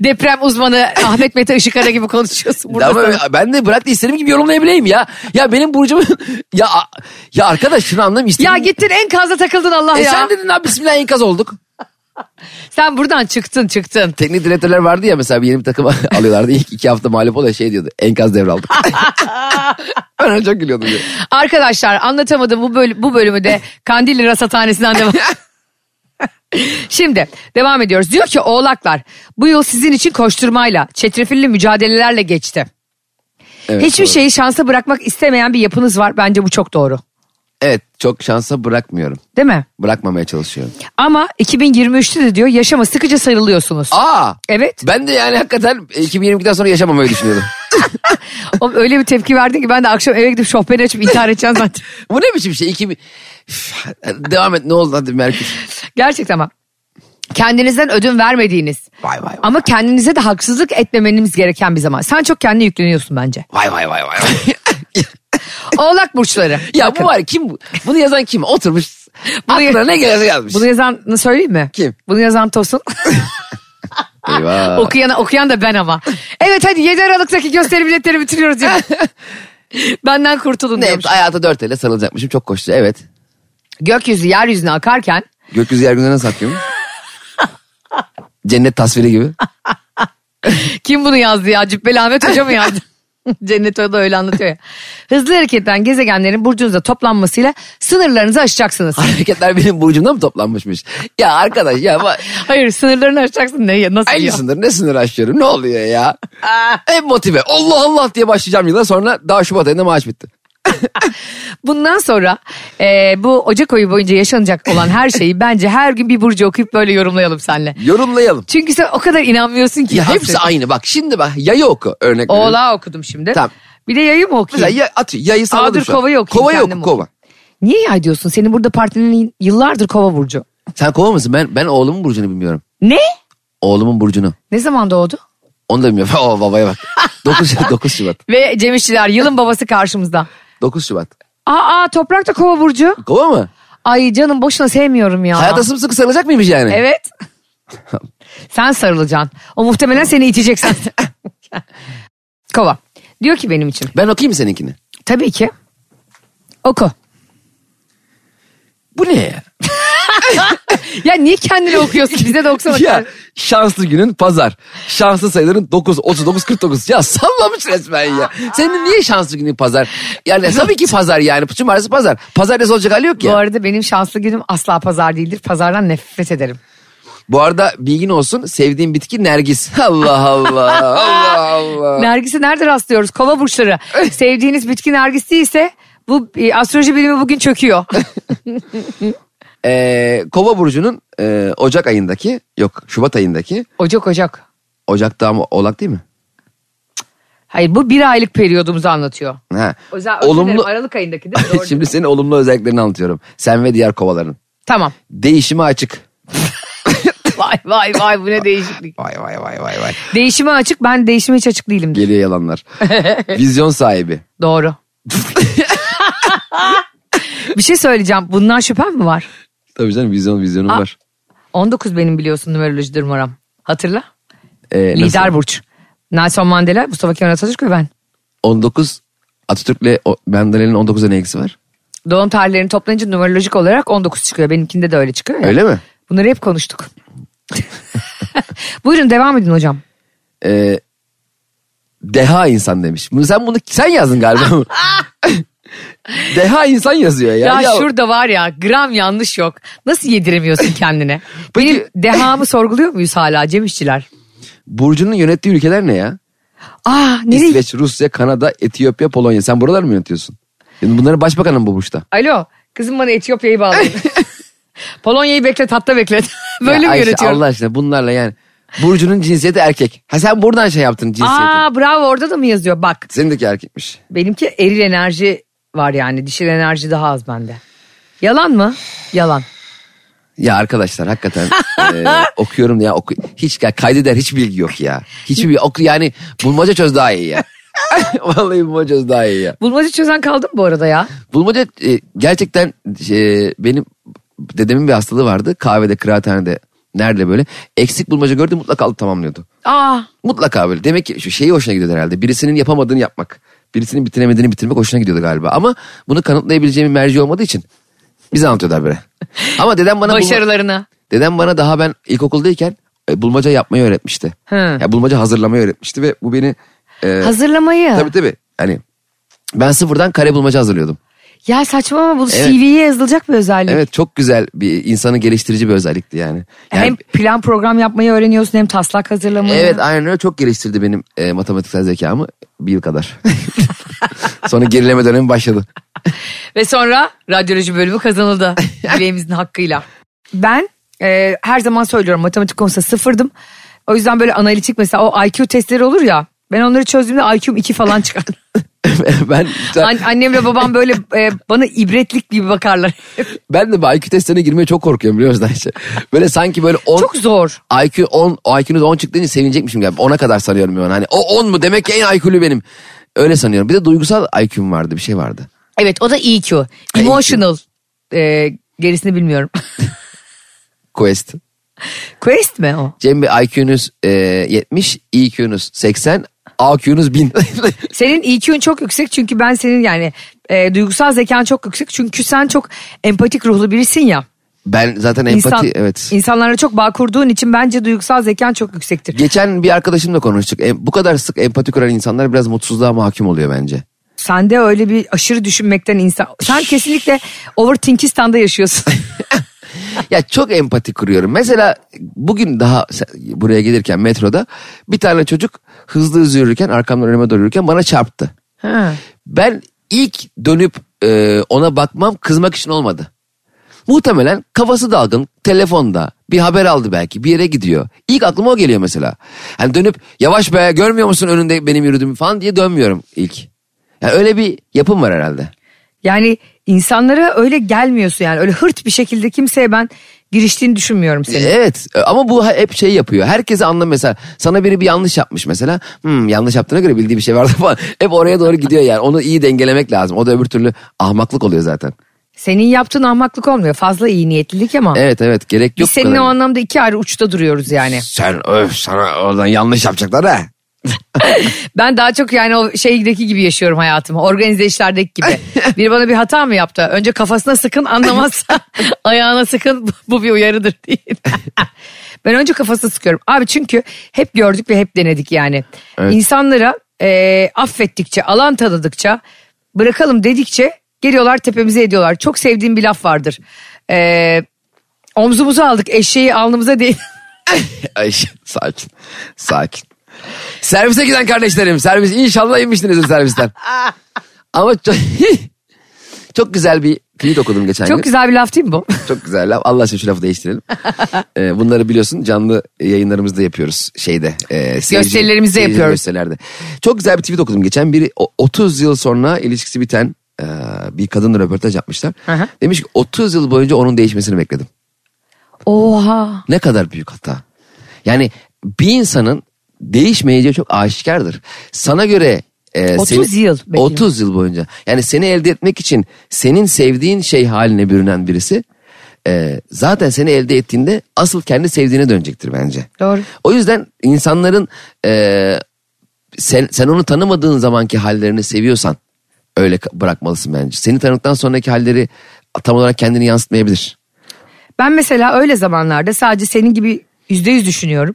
Speaker 2: deprem uzmanı Ahmet Mete Işıkara gibi konuşuyorsun burada?
Speaker 3: Ama
Speaker 2: sana?
Speaker 3: ben de bırak da istediğim gibi yorumlayabileyim ya. Ya benim burcumun ya ya arkadaş şunu anlam
Speaker 2: Ya
Speaker 3: istediğim.
Speaker 2: gittin enkaza takıldın Allah
Speaker 3: E
Speaker 2: ya.
Speaker 3: sen dedin abi bismillah enkaz olduk.
Speaker 2: Sen buradan çıktın çıktın.
Speaker 3: Teknik direktörler vardı ya mesela bir yeni bir takım alıyorlardı. İlk iki hafta mağlup oluyor şey diyordu. Enkaz devraldık. ben ona çok gülüyordum. Ya.
Speaker 2: Arkadaşlar anlatamadım bu, böl- bu bölümü de Kandilli Rasathanesi'nden devam. Şimdi devam ediyoruz. Diyor ki oğlaklar bu yıl sizin için koşturmayla, çetrefilli mücadelelerle geçti.
Speaker 3: Evet,
Speaker 2: Hiçbir şey-
Speaker 3: doğru.
Speaker 2: şeyi şansa bırakmak istemeyen bir yapınız var. Bence bu çok doğru.
Speaker 3: Evet çok şansa bırakmıyorum.
Speaker 2: Değil mi?
Speaker 3: Bırakmamaya çalışıyorum.
Speaker 2: Ama 2023'te de diyor yaşama sıkıca sarılıyorsunuz.
Speaker 3: Aa!
Speaker 2: Evet.
Speaker 3: Ben de yani hakikaten 2022'den sonra yaşamamayı düşünüyorum.
Speaker 2: Oğlum öyle bir tepki verdin ki ben de akşam eve gidip şofbeni açıp intihar edeceğim zaten.
Speaker 3: Bu ne biçim şey? 2000... Üf, Devam et ne oldu hadi Merkür.
Speaker 2: Gerçekten ama. Kendinizden ödün vermediğiniz.
Speaker 3: Vay vay vay.
Speaker 2: Ama kendinize de haksızlık etmemeniz gereken bir zaman. Sen çok kendine yükleniyorsun bence.
Speaker 3: Vay vay vay vay.
Speaker 2: Oğlak burçları.
Speaker 3: ya
Speaker 2: Bakın.
Speaker 3: bu var ya, kim bu? Bunu yazan kim? Oturmuş. Aklına ne gelirse yazmış.
Speaker 2: Bunu yazanı söyleyeyim mi?
Speaker 3: Kim?
Speaker 2: Bunu yazan Tosun.
Speaker 3: Eyvah.
Speaker 2: Okuyana, okuyan da ben ama. Evet hadi 7 Aralık'taki gösteri biletleri bitiriyoruz. ya. Benden kurtulun
Speaker 3: Ne,
Speaker 2: diyormuş.
Speaker 3: hayata dört elle sarılacakmışım çok koştu evet.
Speaker 2: Gökyüzü yeryüzüne akarken
Speaker 3: Gökyüzü yeryüzüne nasıl akıyormuş? Cennet tasviri gibi.
Speaker 2: Kim bunu yazdı ya? Cübbeli Ahmet Hoca mı yazdı? Cennet Hoca da öyle anlatıyor ya. Hızlı hareketten gezegenlerin burcunuzda toplanmasıyla sınırlarınızı aşacaksınız.
Speaker 3: Hareketler benim burcumda mı toplanmışmış? Ya arkadaş ya bak.
Speaker 2: Hayır sınırlarını aşacaksın ne ya nasıl
Speaker 3: Aynı
Speaker 2: ya?
Speaker 3: sınır ne sınır aşıyorum ne oluyor ya? Hep motive Allah Allah diye başlayacağım yıla sonra daha Şubat ayında maaş bitti.
Speaker 2: Bundan sonra e, bu Ocak ayı boyunca yaşanacak olan her şeyi bence her gün bir burcu okuyup böyle yorumlayalım seninle.
Speaker 3: Yorumlayalım.
Speaker 2: Çünkü sen o kadar inanmıyorsun ki.
Speaker 3: Ya hepsi
Speaker 2: Aferin.
Speaker 3: aynı bak şimdi bak yayı oku örnek veriyorum.
Speaker 2: Oğlağı okudum şimdi.
Speaker 3: Tamam.
Speaker 2: Bir de yayı mı
Speaker 3: Mesela
Speaker 2: okuyayım?
Speaker 3: ya, atıyor yayı salladım
Speaker 2: Aa, dur,
Speaker 3: şu an.
Speaker 2: kovayı okuyayım,
Speaker 3: Kovayı
Speaker 2: kendim
Speaker 3: oku kova.
Speaker 2: Niye yay diyorsun? Senin burada partinin yıllardır kova burcu.
Speaker 3: Sen kova mısın? Ben, ben oğlumun burcunu bilmiyorum.
Speaker 2: Ne?
Speaker 3: Oğlumun burcunu.
Speaker 2: Ne zaman doğdu?
Speaker 3: Onu da bilmiyorum. Oo babaya bak. 9, 9 Şubat.
Speaker 2: Ve Cem İşçiler yılın babası karşımızda.
Speaker 3: 9 Şubat.
Speaker 2: Aa, aa toprak da kova burcu.
Speaker 3: Kova mı?
Speaker 2: Ay canım boşuna sevmiyorum ya.
Speaker 3: Hayata sımsıkı sarılacak mıymış yani?
Speaker 2: Evet. Sen sarılacaksın. O muhtemelen seni itecek zaten. kova. Diyor ki benim için.
Speaker 3: Ben okuyayım mı seninkini?
Speaker 2: Tabii ki. Oku.
Speaker 3: Bu ne ya?
Speaker 2: Ya niye kendini okuyorsun? Bize de okusana.
Speaker 3: ya şanslı günün pazar. Şanslı sayıların 9, 39, 49. Ya sallamış resmen ya. Senin niye şanslı günün pazar? Yani tabii ki pazar yani. Cumartesi pazar. Pazar ne olacak hali yok
Speaker 2: Bu
Speaker 3: ya.
Speaker 2: arada benim şanslı günüm asla pazar değildir. Pazardan nefret ederim.
Speaker 3: Bu arada bilgin olsun sevdiğim bitki nergis. Allah Allah. Allah Allah.
Speaker 2: Nergis'i nerede rastlıyoruz? Kova burçları. Sevdiğiniz bitki nergis değilse bu e, astroloji bilimi bugün çöküyor.
Speaker 3: Ee, Kova burcunun e, Ocak ayındaki yok Şubat ayındaki
Speaker 2: Ocak Ocak.
Speaker 3: Ocak'ta ama Oğlak değil mi?
Speaker 2: Hayır bu bir aylık periyodumuzu anlatıyor.
Speaker 3: Ha.
Speaker 2: O yüzden özür dilerim, Aralık ayındaki değil mi? Doğru.
Speaker 3: Şimdi senin olumlu özelliklerini anlatıyorum. Sen ve diğer kovaların.
Speaker 2: Tamam.
Speaker 3: Değişime açık.
Speaker 2: Vay vay vay bu ne değişiklik.
Speaker 3: Vay vay vay vay vay.
Speaker 2: Değişime açık ben değişime hiç açık değilim.
Speaker 3: Geliyor yalanlar. Vizyon sahibi.
Speaker 2: Doğru. bir şey söyleyeceğim. Bundan şüphem mi var?
Speaker 3: Tabii canım vizyon vizyonum
Speaker 2: Aa,
Speaker 3: var.
Speaker 2: 19 benim biliyorsun numerolojidir numaram. Hatırla.
Speaker 3: Ee, nasıl?
Speaker 2: Lider Burç. Nelson Mandela, Mustafa Kemal Atatürk ve ben.
Speaker 3: 19 Atatürk'le o- Menderes'in 19'a ne ilgisi var?
Speaker 2: Doğum tarihlerini toplayınca numerolojik olarak 19 çıkıyor. Benimkinde de öyle çıkıyor ya.
Speaker 3: Öyle mi?
Speaker 2: Bunları hep konuştuk. Buyurun devam edin hocam.
Speaker 3: Ee, deha insan demiş. Bunu sen bunu sen yazdın galiba. deha insan yazıyor ya.
Speaker 2: Ah, Ya, şurada var ya gram yanlış yok. Nasıl yediremiyorsun kendine?
Speaker 3: Peki-
Speaker 2: Benim dehamı sorguluyor muyuz hala Cem İşçiler?
Speaker 3: Burcu'nun yönettiği ülkeler ne ya?
Speaker 2: Aa nereye?
Speaker 3: İsveç, Rusya, Kanada, Etiyopya, Polonya. Sen buralar mı yönetiyorsun? Yani bunların başbakanı mı bu burçta?
Speaker 2: Alo kızım bana Etiyopya'yı bağlayın. Polonya'yı beklet hatta beklet. Böyle
Speaker 3: Ya
Speaker 2: mi
Speaker 3: Ayşe,
Speaker 2: yönetiyorum?
Speaker 3: Allah aşkına bunlarla yani. Burcu'nun cinsiyeti erkek. Ha sen buradan şey yaptın cinsiyeti.
Speaker 2: Aa bravo orada da mı yazıyor? Bak
Speaker 3: Seninki erkekmiş.
Speaker 2: benimki eril enerji var yani dişil enerji daha az bende. Yalan mı? Yalan.
Speaker 3: Ya arkadaşlar hakikaten e, okuyorum ya oku hiç ya kaydeder hiç bilgi yok ya. Hiçbir bilgi oku yani bulmaca çöz daha iyi ya. Vallahi bulmaca çöz daha iyi ya.
Speaker 2: Bulmacı çözen kaldım bu arada ya.
Speaker 3: Bulmaca e, gerçekten e, benim dedemin bir hastalığı vardı. Kahvede, kıraathanede nerede böyle eksik bulmaca gördü mutlaka alıp tamamlıyordu.
Speaker 2: Aa
Speaker 3: Mutlaka böyle. Demek ki şu şeyi hoşuna gidiyordu herhalde. Birisinin yapamadığını yapmak. Birisinin bitiremediğini bitirmek hoşuna gidiyordu galiba. Ama bunu kanıtlayabileceğim bir merci olmadığı için bize anlatıyorlar böyle. Ama dedem bana bulma-
Speaker 2: başarılarını.
Speaker 3: dedem bana daha ben ilkokuldayken e, bulmaca yapmayı öğretmişti.
Speaker 2: Hı.
Speaker 3: Ya bulmaca hazırlamayı öğretmişti ve bu beni e,
Speaker 2: Hazırlamayı.
Speaker 3: tabii tabii hani ben sıfırdan kare bulmaca hazırlıyordum.
Speaker 2: Ya saçma ama bu
Speaker 3: Evet.
Speaker 2: CV'ye yazılacak bir özellik.
Speaker 3: Evet çok güzel bir insanı geliştirici bir özellikti yani. yani
Speaker 2: Hem plan program yapmayı öğreniyorsun hem taslak hazırlamayı.
Speaker 3: Evet aynen öyle çok geliştirdi benim e, matematiksel zekamı bir yıl kadar. Sonra gerileme dönemi başladı.
Speaker 2: Ve sonra radyoloji bölümü kazanıldı bileğimizin hakkıyla. Ben e, her zaman söylüyorum matematik konusunda sıfırdım. O yüzden böyle analitik mesela o IQ testleri olur ya. Ben onları çözdüğümde IQ'm 2 falan çıkar.
Speaker 3: ben
Speaker 2: An- annemle babam böyle e, bana ibretlik gibi bakarlar.
Speaker 3: ben de bu IQ testlerine girmeye çok korkuyorum biliyor musun Ayşe? Böyle sanki böyle 10
Speaker 2: Çok zor.
Speaker 3: IQ 10 o IQ'nuz 10 çıktığınca sevinecekmişim galiba. 10'a kadar sanıyorum yani. Hani o 10 mu demek ki en IQ'lü benim. Öyle sanıyorum. Bir de duygusal IQ'm vardı bir şey vardı.
Speaker 2: Evet o da EQ. Emotional. E, gerisini bilmiyorum.
Speaker 3: Quest.
Speaker 2: Quest mi o?
Speaker 3: Cem Bey IQ'nuz e, 70, EQ'nuz 80, AQ'nuz 1000.
Speaker 2: Senin EQ'un çok yüksek çünkü ben senin yani e, duygusal zekan çok yüksek. Çünkü sen çok empatik ruhlu birisin ya.
Speaker 3: ben zaten empati evet.
Speaker 2: İnsanlarla çok bağ kurduğun için bence duygusal zekan çok yüksektir.
Speaker 3: Geçen bir arkadaşımla konuştuk. E, Bu kadar sık empati kuran insanlar biraz mutsuzluğa mahkum oluyor bence.
Speaker 2: Sende öyle bir aşırı düşünmekten insan... Sen kesinlikle overthinkistan'da yaşıyorsun.
Speaker 3: Ya çok empati kuruyorum. Mesela bugün daha se- buraya gelirken metroda bir tane çocuk hızlı hızlı yürürken arkamdan önüme doğru yürürken bana çarptı.
Speaker 2: Ha.
Speaker 3: Ben ilk dönüp e, ona bakmam kızmak için olmadı. Muhtemelen kafası dalgın, telefonda, bir haber aldı belki, bir yere gidiyor. İlk aklıma o geliyor mesela. Hani dönüp yavaş be görmüyor musun önünde benim yürüdüğümü falan diye dönmüyorum ilk. Yani öyle bir yapım var herhalde.
Speaker 2: yani insanlara öyle gelmiyorsun yani. Öyle hırt bir şekilde kimseye ben giriştiğini düşünmüyorum senin.
Speaker 3: Evet ama bu hep şey yapıyor. Herkese anlam mesela sana biri bir yanlış yapmış mesela. Hmm, yanlış yaptığına göre bildiği bir şey vardı falan. Hep oraya doğru gidiyor yani. Onu iyi dengelemek lazım. O da öbür türlü ahmaklık oluyor zaten.
Speaker 2: Senin yaptığın ahmaklık olmuyor. Fazla iyi niyetlilik ama.
Speaker 3: Evet evet gerek
Speaker 2: Biz
Speaker 3: E- yok. bu
Speaker 2: seninle
Speaker 3: kadar.
Speaker 2: o anlamda iki ayrı uçta duruyoruz yani.
Speaker 3: Sen öf sana oradan yanlış yapacaklar ha.
Speaker 2: Ben daha çok yani o şeydeki gibi yaşıyorum hayatımı. Organize işlerdeki gibi. Biri bana bir hata mı yaptı? Önce kafasına sıkın anlamazsa ayağına sıkın bu bir uyarıdır diye. ben önce kafasına sıkıyorum. Abi çünkü hep gördük ve hep denedik yani.
Speaker 3: Evet.
Speaker 2: İnsanlara e, affettikçe, alan tanıdıkça, bırakalım dedikçe geliyorlar tepemize ediyorlar. Çok sevdiğim bir laf vardır. E, omzumuza aldık eşeği alnımıza değil.
Speaker 3: Ay, sakin sakin. Servise giden kardeşlerim servis inşallah inmişsinizdir servisten. ama çok, çok güzel bir tweet okudum geçen gün.
Speaker 2: Çok güzel bir laf değil mi bu?
Speaker 3: Çok güzel laf. Allah aşkına şu lafı değiştirelim. Ee, bunları biliyorsun canlı yayınlarımızda yapıyoruz şeyde. E, seyirci-
Speaker 2: Gösterilerimizde
Speaker 3: seyirci
Speaker 2: yapıyoruz.
Speaker 3: Gösterilerde. Çok güzel bir tweet okudum geçen. Biri o- 30 yıl sonra ilişkisi biten e, bir kadınla röportaj yapmışlar.
Speaker 2: Hı hı.
Speaker 3: Demiş ki 30 yıl boyunca onun değişmesini bekledim.
Speaker 2: Oha.
Speaker 3: Ne kadar büyük hata. Yani bir insanın değişmeyeceği çok aşikardır. Sana göre e,
Speaker 2: 30
Speaker 3: seni-
Speaker 2: yıl bekliyor.
Speaker 3: 30 yıl boyunca. Yani seni elde etmek için senin sevdiğin şey haline bürünen birisi e, zaten seni elde ettiğinde asıl kendi sevdiğine dönecektir bence.
Speaker 2: Doğru.
Speaker 3: O yüzden insanların e, sen, sen onu tanımadığın zamanki hallerini seviyorsan öyle ka- bırakmalısın bence. Seni tanıdıktan sonraki halleri tam olarak kendini yansıtmayabilir.
Speaker 2: Ben mesela öyle zamanlarda sadece senin gibi yüzde yüz düşünüyorum.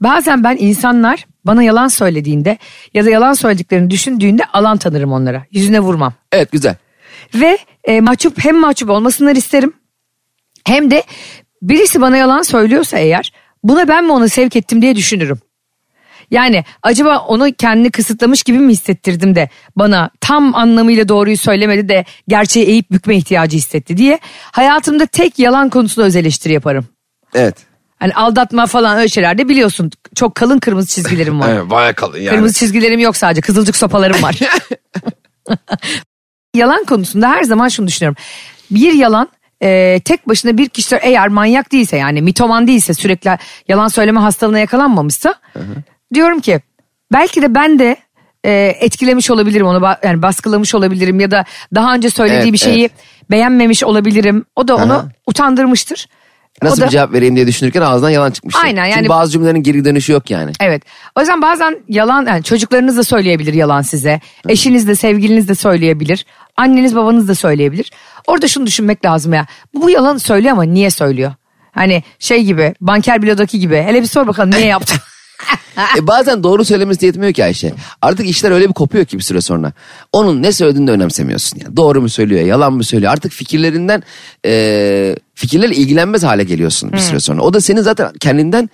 Speaker 2: Bazen ben insanlar bana yalan söylediğinde ya da yalan söylediklerini düşündüğünde alan tanırım onlara. Yüzüne vurmam.
Speaker 3: Evet güzel.
Speaker 2: Ve e, mahcup hem mahcup olmasınlar isterim hem de birisi bana yalan söylüyorsa eğer buna ben mi onu sevk ettim diye düşünürüm. Yani acaba onu kendini kısıtlamış gibi mi hissettirdim de bana tam anlamıyla doğruyu söylemedi de gerçeği eğip bükme ihtiyacı hissetti diye hayatımda tek yalan konusunda öz eleştiri yaparım.
Speaker 3: Evet.
Speaker 2: Hani aldatma falan öyle şeylerde biliyorsun çok kalın kırmızı çizgilerim var.
Speaker 3: Evet, bayağı kalın yani.
Speaker 2: Kırmızı çizgilerim yok sadece kızılcık sopalarım var. yalan konusunda her zaman şunu düşünüyorum. Bir yalan e, tek başına bir kişi eğer manyak değilse yani mitoman değilse sürekli yalan söyleme hastalığına yakalanmamışsa diyorum ki belki de ben de e, etkilemiş olabilirim onu ba- yani baskılamış olabilirim ya da daha önce söylediği
Speaker 3: Evet,
Speaker 2: bir şeyi beğenmemiş olabilirim. O da onu utandırmıştır.
Speaker 3: Nasıl
Speaker 2: o da,
Speaker 3: bir cevap vereyim diye düşünürken ağzından yalan çıkmıştı.
Speaker 2: Aynen, yani-
Speaker 3: Çünkü bazı cümlelerin geri dönüşü yok yani.
Speaker 2: Evet. O yüzden bazen yalan yani çocuklarınız da söyleyebilir yalan size. Eşiniz de sevgiliniz de söyleyebilir. Anneniz babanız da söyleyebilir. Orada şunu düşünmek lazım ya. Bu, bu yalan söylüyor ama niye söylüyor? Hani şey gibi banker bilodaki gibi. Hele bir sor bakalım niye yaptın?
Speaker 3: E bazen doğru söylemesi de yetmiyor ki Ayşe. Artık işler öyle bir kopuyor ki bir süre sonra. Onun ne söylediğini de önemsemiyorsun. Yani doğru mu söylüyor, yalan mı söylüyor. Artık fikirlerinden e, fikirlerle ilgilenmez hale geliyorsun bir süre sonra. O da seni zaten kendinden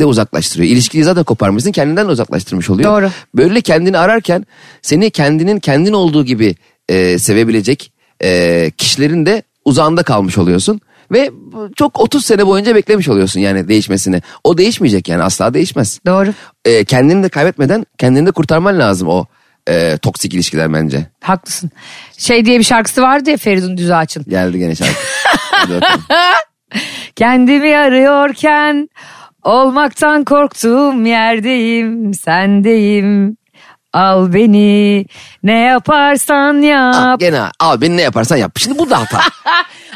Speaker 3: de uzaklaştırıyor. İlişkiyi zaten koparmışsın kendinden de uzaklaştırmış oluyor.
Speaker 2: Doğru.
Speaker 3: Böyle kendini ararken seni kendinin kendin olduğu gibi e, sevebilecek e, kişilerin de uzağında kalmış oluyorsun. Ve bu- çok 30 sene boyunca beklemiş oluyorsun yani değişmesini. O değişmeyecek yani asla değişmez.
Speaker 2: Doğru.
Speaker 3: E, kendini de kaybetmeden kendini de kurtarman lazım o e, toksik ilişkiler bence.
Speaker 2: Haklısın. Şey diye bir şarkısı vardı ya Feridun Düzağaç'ın.
Speaker 3: Geldi gene şarkı. Hadi bakalım.
Speaker 2: Kendimi arıyorken olmaktan korktuğum yerdeyim, sendeyim. Al beni ne yaparsan
Speaker 3: Ha,
Speaker 2: yap.
Speaker 3: gene abi ne yaparsan yap. Şimdi bu da hata.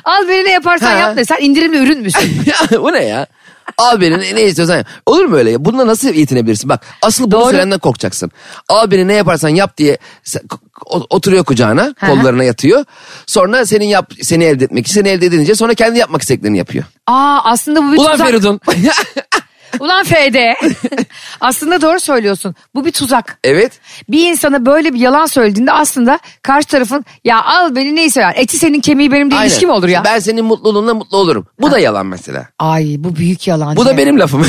Speaker 2: Al beni ne yaparsan
Speaker 3: Ha.
Speaker 2: yap ne? Sen indirimli ürün müsün?
Speaker 3: ya, bu ne ya? Al beni ne- ne istiyorsan yap. Olur mu öyle ya? Bununla nasıl yetinebilirsin? Bak asıl bunu
Speaker 2: Doğru.
Speaker 3: söylenden korkacaksın. Al beni ne yaparsan yap diye sen- o- oturuyor kucağına.
Speaker 2: Hı hı.
Speaker 3: kollarına yatıyor. Sonra senin yap, seni elde etmek için seni elde edince sonra kendi yapmak istediklerini yapıyor.
Speaker 2: Aa aslında bu bir
Speaker 3: Ulan
Speaker 2: tuzak.
Speaker 3: Feridun.
Speaker 2: Ulan FD. aslında doğru söylüyorsun. Bu bir tuzak.
Speaker 3: evet.
Speaker 2: Bir insana böyle bir yalan söylediğinde aslında karşı tarafın ya al beni neyse ya eti senin kemiği benim diye
Speaker 3: aynen.
Speaker 2: ilişki mi olur ya?
Speaker 3: Ben senin mutluluğunla mutlu olurum. Bu da yalan mesela.
Speaker 2: Ay bu büyük yalan.
Speaker 3: Bu
Speaker 2: ya.
Speaker 3: da benim lafım.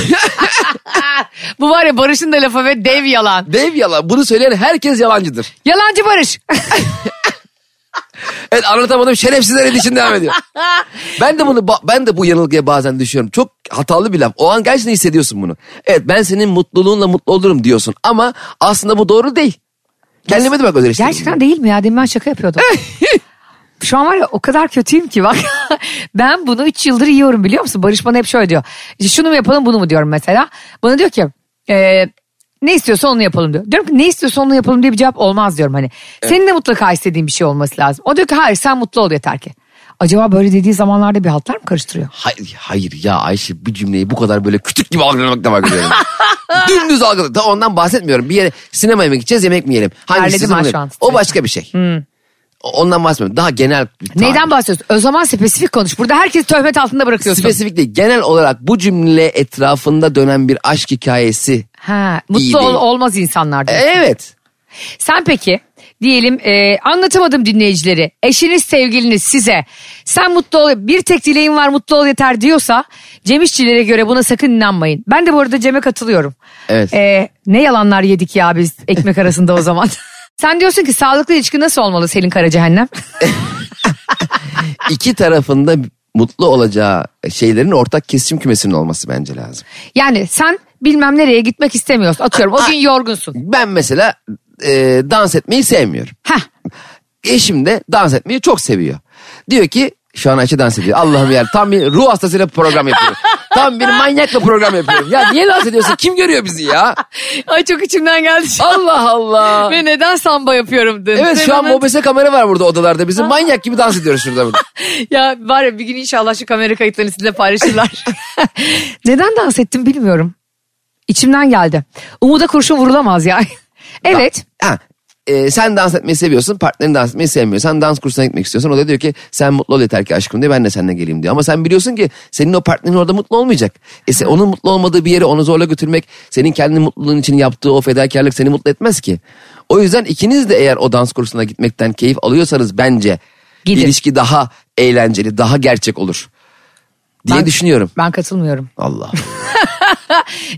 Speaker 2: Bu var ya Barış'ın da lafı ve dev yalan.
Speaker 3: Dev yalan. Bunu söyleyen herkes yalancıdır.
Speaker 2: Yalancı Barış.
Speaker 3: Evet anlatamadım şerefsizler edişin devam ediyor. Ben de bunu ba- ben de bu yanılgıya bazen düşüyorum. Çok hatalı bir laf. O an gerçekten hissediyorsun bunu. Evet ben senin mutluluğunla mutlu olurum diyorsun ama aslında bu doğru değil. Kendime de bak özelleştirdim.
Speaker 2: Gerçekten değil mi ya? Demin ben şaka yapıyordum. Şu an var ya o kadar kötüyüm ki bak. ben bunu 3 yıldır yiyorum biliyor musun? Barış bana hep şöyle diyor. İşte şunu mu yapalım bunu mu diyorum mesela. Bana diyor ki "Ee, ne istiyorsa onu yapalım diyor. Diyorum ki ne istiyorsa onu yapalım diye bir cevap olmaz diyorum hani. Senin de mutlaka istediğin bir şey olması lazım. O diyor ki hayır sen mutlu ol yeter ki. Acaba böyle dediği zamanlarda bir haltlar mı karıştırıyor?
Speaker 3: Hayır, hayır ya Ayşe bir cümleyi bu kadar böyle kütük gibi algılamak da var görüyorum. Dümdüz algılamak. Da ondan bahsetmiyorum. Bir yere sinemaya mı gideceğiz yemek mi yiyelim? Hangisi
Speaker 2: Terledim
Speaker 3: bunu
Speaker 2: ha şu
Speaker 3: yiyelim?
Speaker 2: an.
Speaker 3: O başka bir şey. O- Ondan bahsetmiyorum. Daha genel. bir tabir.
Speaker 2: Neyden bahsediyorsun? O zaman spesifik konuş. Burada herkes töhmet altında bırakıyorsun.
Speaker 3: Spesifik değil. Genel olarak bu cümle etrafında dönen bir aşk hikayesi.
Speaker 2: ha,
Speaker 3: İyi
Speaker 2: mutlu
Speaker 3: değil.
Speaker 2: ol, olmaz insanlar. diyor.
Speaker 3: Evet.
Speaker 2: Sen peki diyelim e, anlatamadım dinleyicileri. Eşiniz sevgiliniz size sen mutlu ol bir tek dileğin var mutlu ol yeter diyorsa Cem İşçilere göre buna sakın inanmayın. Ben de bu arada Cem'e katılıyorum.
Speaker 3: Evet.
Speaker 2: E, ne yalanlar yedik ya biz ekmek arasında o zaman. Sen diyorsun ki sağlıklı ilişki nasıl olmalı Selin Kara Cehennem?
Speaker 3: İki tarafında mutlu olacağı şeylerin ortak kesişim kümesinin olması bence lazım.
Speaker 2: Yani sen bilmem nereye gitmek istemiyorsun. Atıyorum o gün yorgunsun.
Speaker 3: Ben mesela e, dans etmeyi sevmiyorum.
Speaker 2: Heh.
Speaker 3: Eşim de dans etmeyi çok seviyor. Diyor ki şu an Ayşe dans ediyor. Allah'ım ya tam bir ruh hastasıyla program yapıyorum. Tam bir manyakla program yapıyorum. Ya niye dans ediyorsun? Kim görüyor bizi ya?
Speaker 2: Ay çok içimden geldi. şu an.
Speaker 3: Allah Allah.
Speaker 2: Ve neden samba yapıyorum dedim.
Speaker 3: Evet şu an mobese kamera var burada odalarda. Bizim manyak gibi dans ediyoruz şurada. burada.
Speaker 2: Ya var ya bir gün inşallah şu kamera kayıtlarını sizinle paylaşırlar. Neden dans ettim bilmiyorum. İçimden geldi. Umuda kurşun vurulamaz ya. evet.
Speaker 3: Ha, e, sen dans etmeyi seviyorsun partnerin dans etmeyi sevmiyor. Sen dans kursuna gitmek istiyorsun. O da diyor ki sen mutlu ol yeter ki aşkım diye ben de seninle geleyim diyor. Ama sen biliyorsun ki senin o partnerin orada mutlu olmayacak. E, sen- onun mutlu olmadığı bir yere onu zorla götürmek senin kendi mutluluğun için yaptığı o fedakarlık seni mutlu etmez ki. O yüzden ikiniz de eğer o dans kursuna gitmekten keyif alıyorsanız bence
Speaker 2: Gidin.
Speaker 3: ilişki daha eğlenceli daha gerçek olur diye
Speaker 2: Ben-
Speaker 3: düşünüyorum.
Speaker 2: Ben katılmıyorum.
Speaker 3: Allah.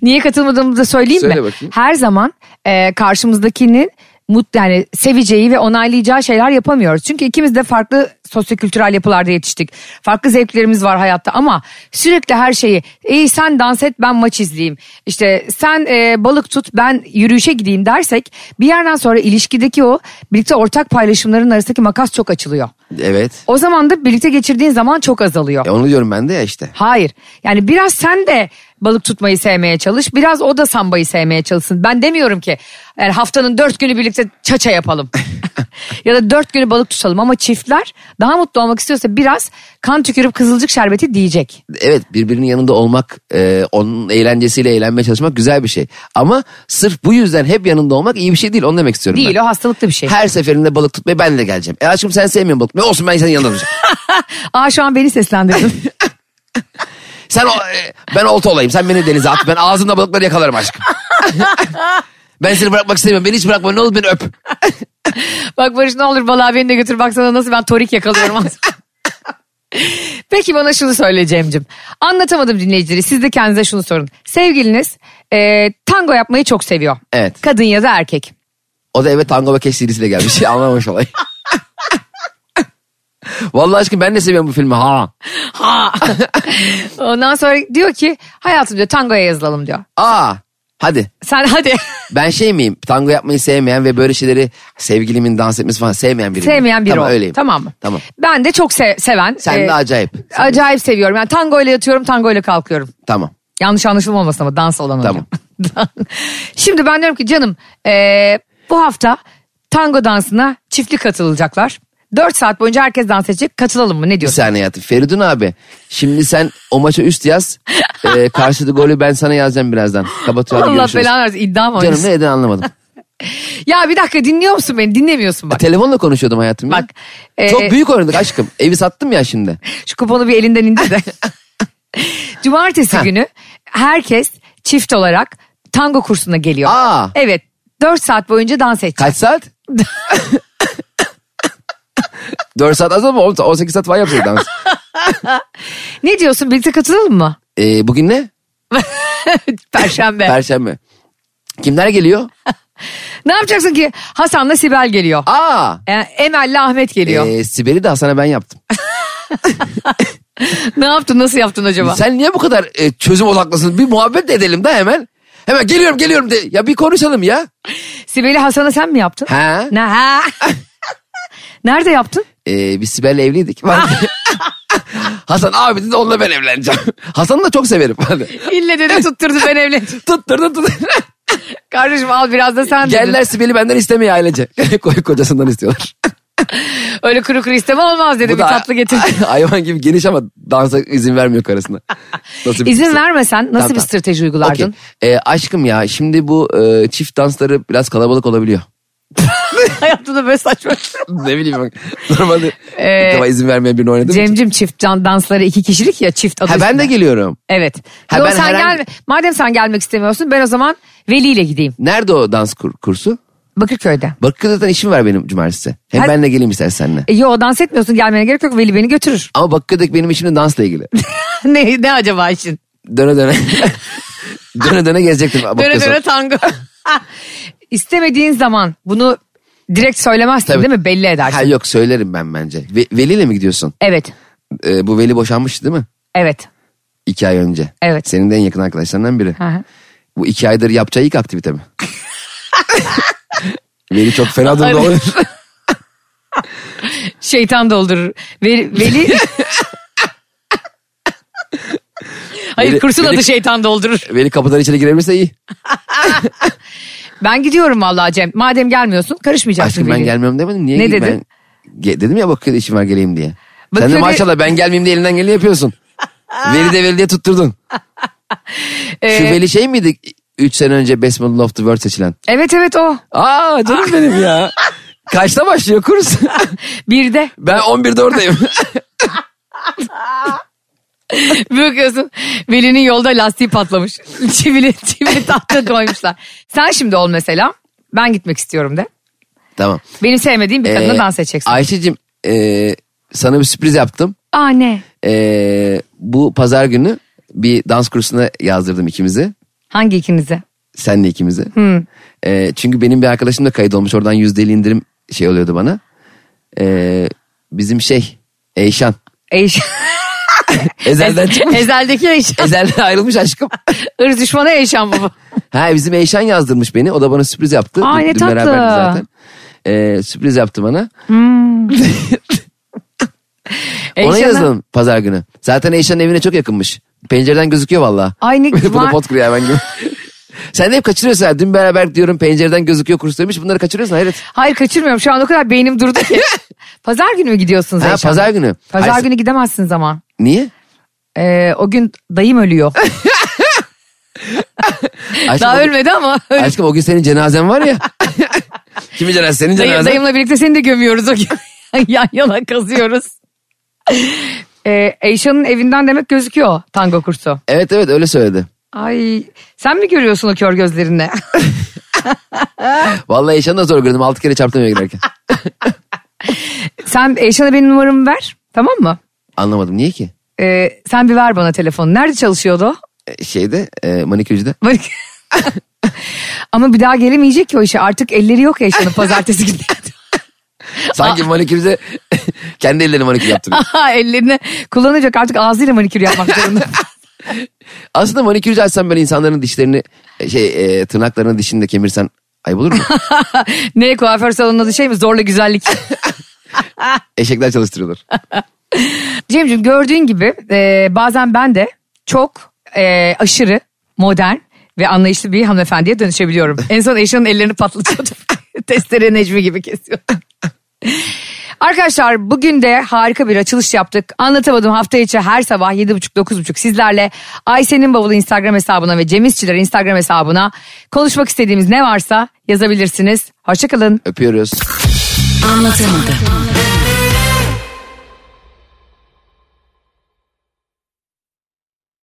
Speaker 2: Niye katılmadığımı da söyleyeyim
Speaker 3: Söyle
Speaker 2: mi?
Speaker 3: bakayım.
Speaker 2: Her zaman e, karşımızdakinin mut yani seveceği ve onaylayacağı şeyler yapamıyoruz. Çünkü ikimiz de farklı sosyokültürel yapılarda yetiştik. Farklı zevklerimiz var hayatta ama sürekli her şeyi "Ey sen dans et ben maç izleyeyim. İşte sen e, balık tut ben yürüyüşe gideyim dersek bir yerden sonra ilişkideki o birlikte ortak paylaşımların arasındaki makas çok açılıyor.
Speaker 3: evet.
Speaker 2: O zaman da birlikte geçirdiğin zaman çok azalıyor.
Speaker 3: E, onu diyorum ben de ya işte.
Speaker 2: Hayır. Yani biraz sen de balık tutmayı sevmeye çalış. Biraz o da sambayı sevmeye çalışsın. Ben demiyorum ki yani haftanın dört günü birlikte çaça yapalım. ya da dört günü balık tutalım. Ama çiftler daha mutlu olmak istiyorsa biraz kan tükürüp kızılcık şerbeti diyecek.
Speaker 3: evet birbirinin yanında olmak, e, onun eğlencesiyle eğlenmeye çalışmak güzel bir şey. Ama sırf bu yüzden hep yanında olmak iyi bir şey değil. Onu demek istiyorum
Speaker 2: Değil
Speaker 3: ben.
Speaker 2: o hastalıklı bir şey.
Speaker 3: Her seferinde balık tutmaya ben de geleceğim. E aşkım sen sevmiyorsun balık tutmayı. Olsun ben senin yanında olacağım.
Speaker 2: Aa şu an beni seslendirdin.
Speaker 3: Sen o, e, ben olta olayım. Sen beni denize at. Ben ağzımda balıkları yakalarım aşkım. ben seni bırakmak istemiyorum. Beni hiç bırakma. Ne olur beni öp.
Speaker 2: Bak Barış ne olur balığa beni de götür baksana nasıl ben torik yakalıyorum. Peki bana şunu söyle Cem'cim. Anlatamadım dinleyicileri. Siz de kendinize şunu sorun. Sevgiliniz e, tango yapmayı çok seviyor.
Speaker 3: Evet.
Speaker 2: Kadın ya da erkek.
Speaker 3: O da eve tango ve keş serisiyle gelmiş. Anlamamış olay. Vallahi aşkım ben de seviyorum bu filmi. Ha.
Speaker 2: Ha. Ondan sonra diyor ki hayatım diyor tangoya yazılalım diyor.
Speaker 3: Aa. Hadi.
Speaker 2: Sen hadi
Speaker 3: Ben şey miyim? Tango yapmayı sevmeyen ve böyle şeyleri sevgilimin dans etmesi falan sevmeyen biriyim.
Speaker 2: sevmeyen biri
Speaker 3: tamam,
Speaker 2: ol.
Speaker 3: öyleyim.
Speaker 2: Tamam mı?
Speaker 3: Tamam.
Speaker 2: Ben de çok se- seven.
Speaker 3: Sen
Speaker 2: e,
Speaker 3: de acayip.
Speaker 2: Acayip seviyorum. Yani tango ile yatıyorum tango ile kalkıyorum.
Speaker 3: Tamam.
Speaker 2: Yanlış anlaşılmamasın ama dans olan
Speaker 3: Tamam.
Speaker 2: hocam. Şimdi ben diyorum ki canım eee, bu hafta tango dansına çiftli katılacaklar. 4 saat boyunca herkes dans edecek katılalım mı ne
Speaker 3: Bir
Speaker 2: diyorsun?
Speaker 3: saniye hayatım. Feridun abi. Şimdi sen o maça üst yaz. Ee, karşıda golü ben sana yazacağım birazdan. Kapatıyorum. hadi
Speaker 2: Allah
Speaker 3: görüşürüz.
Speaker 2: belanı versin iddia mı
Speaker 3: Canım
Speaker 2: oynuyorsun?
Speaker 3: ne neden anlamadım. E,
Speaker 2: Ya bir dakika dinliyor musun beni dinlemiyorsun bak.
Speaker 3: Telefonla konuşuyordum hayatım. ya.
Speaker 2: Bak, e-
Speaker 3: Çok büyük oynadık aşkım. Evi sattım ya şimdi.
Speaker 2: Şu kuponu bir elinden indir de. Cumartesi
Speaker 3: Ha.
Speaker 2: günü herkes çift olarak tango kursuna geliyor.
Speaker 3: Aa.
Speaker 2: Evet 4 saat boyunca dans edecek.
Speaker 3: Kaç saat? 4 saat az ama oğlum, 18 saat var yapacağız dans.
Speaker 2: Ne diyorsun birlikte katılalım mı?
Speaker 3: Ee, bugün ne?
Speaker 2: Perşembe.
Speaker 3: Perşembe. Kimler geliyor?
Speaker 2: ne yapacaksın ki Hasan'la Sibel geliyor.
Speaker 3: Aa.
Speaker 2: E, Emel'le Ahmet geliyor.
Speaker 3: Ee, Sibel'i de Hasan'a ben yaptım. Ee,
Speaker 2: Ne yaptın nasıl yaptın acaba?
Speaker 3: Sen niye bu kadar e, çözüm odaklısın? Bir muhabbet edelim de hemen. Hemen geliyorum geliyorum de. Ya bir konuşalım ya.
Speaker 2: Sibel'i Hasan'a sen mi yaptın?
Speaker 3: Ha?
Speaker 2: Ne ha? Nerede yaptın?
Speaker 3: Ee, biz Sibel'le evliydik. Ben- Hasan abi dedi onunla ben evleneceğim. Hasan'ı da çok severim. Hadi.
Speaker 2: İlle dedi tutturdu ben evleneceğim.
Speaker 3: Tutturdun tut.
Speaker 2: Kardeşim al biraz da sen dedin.
Speaker 3: Geller Sibel'i benden istemiyor ailece. Koy kocasından istiyorlar.
Speaker 2: Öyle kuru kuru isteme olmaz dedi
Speaker 3: Bu
Speaker 2: bir
Speaker 3: da
Speaker 2: tatlı getir.
Speaker 3: Hayvan gibi geniş ama dansa izin vermiyor karısına. Nasıl bir
Speaker 2: İzin
Speaker 3: kızsa.
Speaker 2: vermesen nasıl
Speaker 3: Tamam,
Speaker 2: bir
Speaker 3: tamam.
Speaker 2: strateji uygulardın?
Speaker 3: Okey. Ee, aşkım ya şimdi bu e, çift dansları biraz kalabalık olabiliyor.
Speaker 2: Hayatımda böyle saçma.
Speaker 3: ne bileyim bak. Normalde
Speaker 2: Ee,
Speaker 3: ilk defa izin vermeyen birini oynadım.
Speaker 2: Cemcim çift can dansları iki kişilik ya çift adı
Speaker 3: ha ben
Speaker 2: üstünde.
Speaker 3: de geliyorum.
Speaker 2: Evet.
Speaker 3: Ha,
Speaker 2: Yo,
Speaker 3: ben
Speaker 2: sen
Speaker 3: herhangi-
Speaker 2: gelme. Madem sen gelmek istemiyorsun ben o zaman Veli ile gideyim.
Speaker 3: Nerede o dans kur- kursu?
Speaker 2: Bakırköy'de.
Speaker 3: Bakırköy'de zaten işim var benim cumartesi. Hem
Speaker 2: Ha-
Speaker 3: ben de geleyim istersen seninle.
Speaker 2: E, yo dans etmiyorsun gelmene gerek yok Veli beni götürür.
Speaker 3: Ama Bakırköy'deki benim işim de dansla ilgili.
Speaker 2: ne, ne acaba işin?
Speaker 3: döne döne. döne döne gezecektim.
Speaker 2: Döne
Speaker 3: Bakırköy
Speaker 2: döne tango. İstemediğin zaman bunu direkt söylemezsin
Speaker 3: Tabii.
Speaker 2: değil mi? Belli
Speaker 3: sonra.
Speaker 2: edersin.
Speaker 3: Ha yok söylerim ben bence. Ve, Veli'yle mi gidiyorsun?
Speaker 2: Evet.
Speaker 3: Ee, bu Veli boşanmıştı değil mi?
Speaker 2: Evet.
Speaker 3: İki ay önce.
Speaker 2: Evet.
Speaker 3: Senin de en yakın arkadaşlarından biri.
Speaker 2: Hı hı.
Speaker 3: Bu iki aydır yapacağı ilk aktivite mi? Veli çok fena durumda
Speaker 2: Hayır.
Speaker 3: olur.
Speaker 2: Şeytan doldurur. Veli... Veli... Hayır
Speaker 3: Veli-
Speaker 2: kursun
Speaker 3: Veli-
Speaker 2: adı şeytan doldurur.
Speaker 3: Veli kapıdan içeri girebilirse iyi.
Speaker 2: Ben gidiyorum vallahi Cem. Madem gelmiyorsun karışmayacaksın
Speaker 3: Aşkım ben
Speaker 2: Veli'ye.
Speaker 3: gelmiyorum demedim. Niye
Speaker 2: Ne
Speaker 3: gideyim
Speaker 2: dedin?
Speaker 3: Ben, Ge- dedim ya Bakırköy'de işim var geleyim diye. Sen de
Speaker 2: Bakırköy'de-
Speaker 3: maşallah ben gelmeyeyim diye elinden geleni yapıyorsun. Veli de Veli diye tutturdun. Şu
Speaker 2: Ee,
Speaker 3: Veli şey miydi? 3 sene önce Best Model of the World seçilen.
Speaker 2: Evet evet o.
Speaker 3: Aa canım benim ya. Kaçta başlıyor kurs?
Speaker 2: Bir de
Speaker 3: ben 11'de oradayım.
Speaker 2: bakıyorsun Veli'nin yolda lastiği patlamış. Çivili, çivili tahta koymuşlar. Sen şimdi ol mesela. Ben gitmek istiyorum de.
Speaker 3: tamam.
Speaker 2: Benim sevmediğim bir kadına
Speaker 3: Ee,
Speaker 2: dans edeceksin.
Speaker 3: Ayşe'cim e, sana bir sürpriz yaptım.
Speaker 2: Aa ne?
Speaker 3: E, bu pazar günü bir dans kursuna yazdırdım ikimizi.
Speaker 2: Hangi ikinize?
Speaker 3: Senle ikimizi. E, çünkü benim bir arkadaşım da kayıt olmuş. Oradan %50 indirim şey oluyordu bana. E, bizim şey Eyşan.
Speaker 2: Eyş.
Speaker 3: Ezel'den çıkmış.
Speaker 2: Ezeldeki Eyşan.
Speaker 3: Ezel'den ayrılmış aşkım.
Speaker 2: Irz düşmanı Eyşan baba.
Speaker 3: Ha bizim Eyşan yazdırmış beni. O da bana sürpriz yaptı.
Speaker 2: Ay, ne tatlı.
Speaker 3: beraberdik zaten. E, sürpriz yaptı bana. Ona
Speaker 2: Eyşan'a-
Speaker 3: yazalım pazar günü. Zaten Eyşan'ın evine çok yakınmış. Pencereden gözüküyor valla.
Speaker 2: Ay ne
Speaker 3: Bu da
Speaker 2: var-
Speaker 3: pot kırıyor ben gibi. Sen de hep kaçırıyorsun. ha. Dün beraber diyorum pencereden gözüküyor kurs demiş. Bunları kaçırıyorsun hayret.
Speaker 2: Hayır kaçırmıyorum şu an o kadar beynim durdu ki. pazar günü mü gidiyorsunuz
Speaker 3: Ha,
Speaker 2: Eyşan'la?
Speaker 3: pazar günü.
Speaker 2: Pazar
Speaker 3: Hayır,
Speaker 2: günü gidemezsiniz ama.
Speaker 3: Niye?
Speaker 2: Ee, o gün dayım ölüyor.
Speaker 3: Aşkım, o
Speaker 2: Daha
Speaker 3: gün-
Speaker 2: ölmedi ama. öl-
Speaker 3: Aşkım o gün senin cenazen var ya. Kimin cenazesi? Senin
Speaker 2: Dayı,
Speaker 3: cenazen.
Speaker 2: dayımla birlikte seni de gömüyoruz o gün. Yan yana kazıyoruz. e, Eyşan'ın evinden demek gözüküyor o tango kursu.
Speaker 3: Evet evet öyle söyledi.
Speaker 2: Ay sen mi görüyorsun o kör gözlerinle?
Speaker 3: Vallahi Eşan'ı da zor gördüm. Altı kere çarptım eve girerken.
Speaker 2: sen Eyşan'a benim numaramı ver tamam mı?
Speaker 3: Anlamadım niye ki?
Speaker 2: E, sen bir ver bana telefonu. Nerede çalışıyordu o?
Speaker 3: E, Şeyde e, manikürcüde.
Speaker 2: Böyle- Ama bir daha gelemeyecek ki o işe. Artık elleri yok Eyşan'ın pazartesi günü.
Speaker 3: Sanki manikürcüde kendi ellerini manikür yaptırıyor.
Speaker 2: Aha, ellerini kullanacak artık ağzıyla manikür yapmak zorunda.
Speaker 3: Aslında manikürcü açsam ben insanların dişlerini e, şey e, tırnaklarını dişini de kemirsen ayıp olur mu?
Speaker 2: ne kuaför salonunun adı şey mi zorla güzellik.
Speaker 3: Eşekler çalıştırıyorlar.
Speaker 2: Cem'ciğim gördüğün gibi e, bazen ben de çok e, aşırı modern ve anlayışlı bir hanımefendiye dönüşebiliyorum. En son Eşan'ın ellerini patlatıyordum. Testere Necmi gibi kesiyordum. Arkadaşlar bugün de harika bir açılış yaptık. Anlatamadım hafta içi her sabah 7.30-9.30 sizlerle Ayşe'nin bavulu Instagram hesabına ve Cem İşçiler Instagram hesabına konuşmak istediğimiz ne varsa yazabilirsiniz. Hoşçakalın.
Speaker 3: Öpüyoruz.
Speaker 4: Anlatamadım.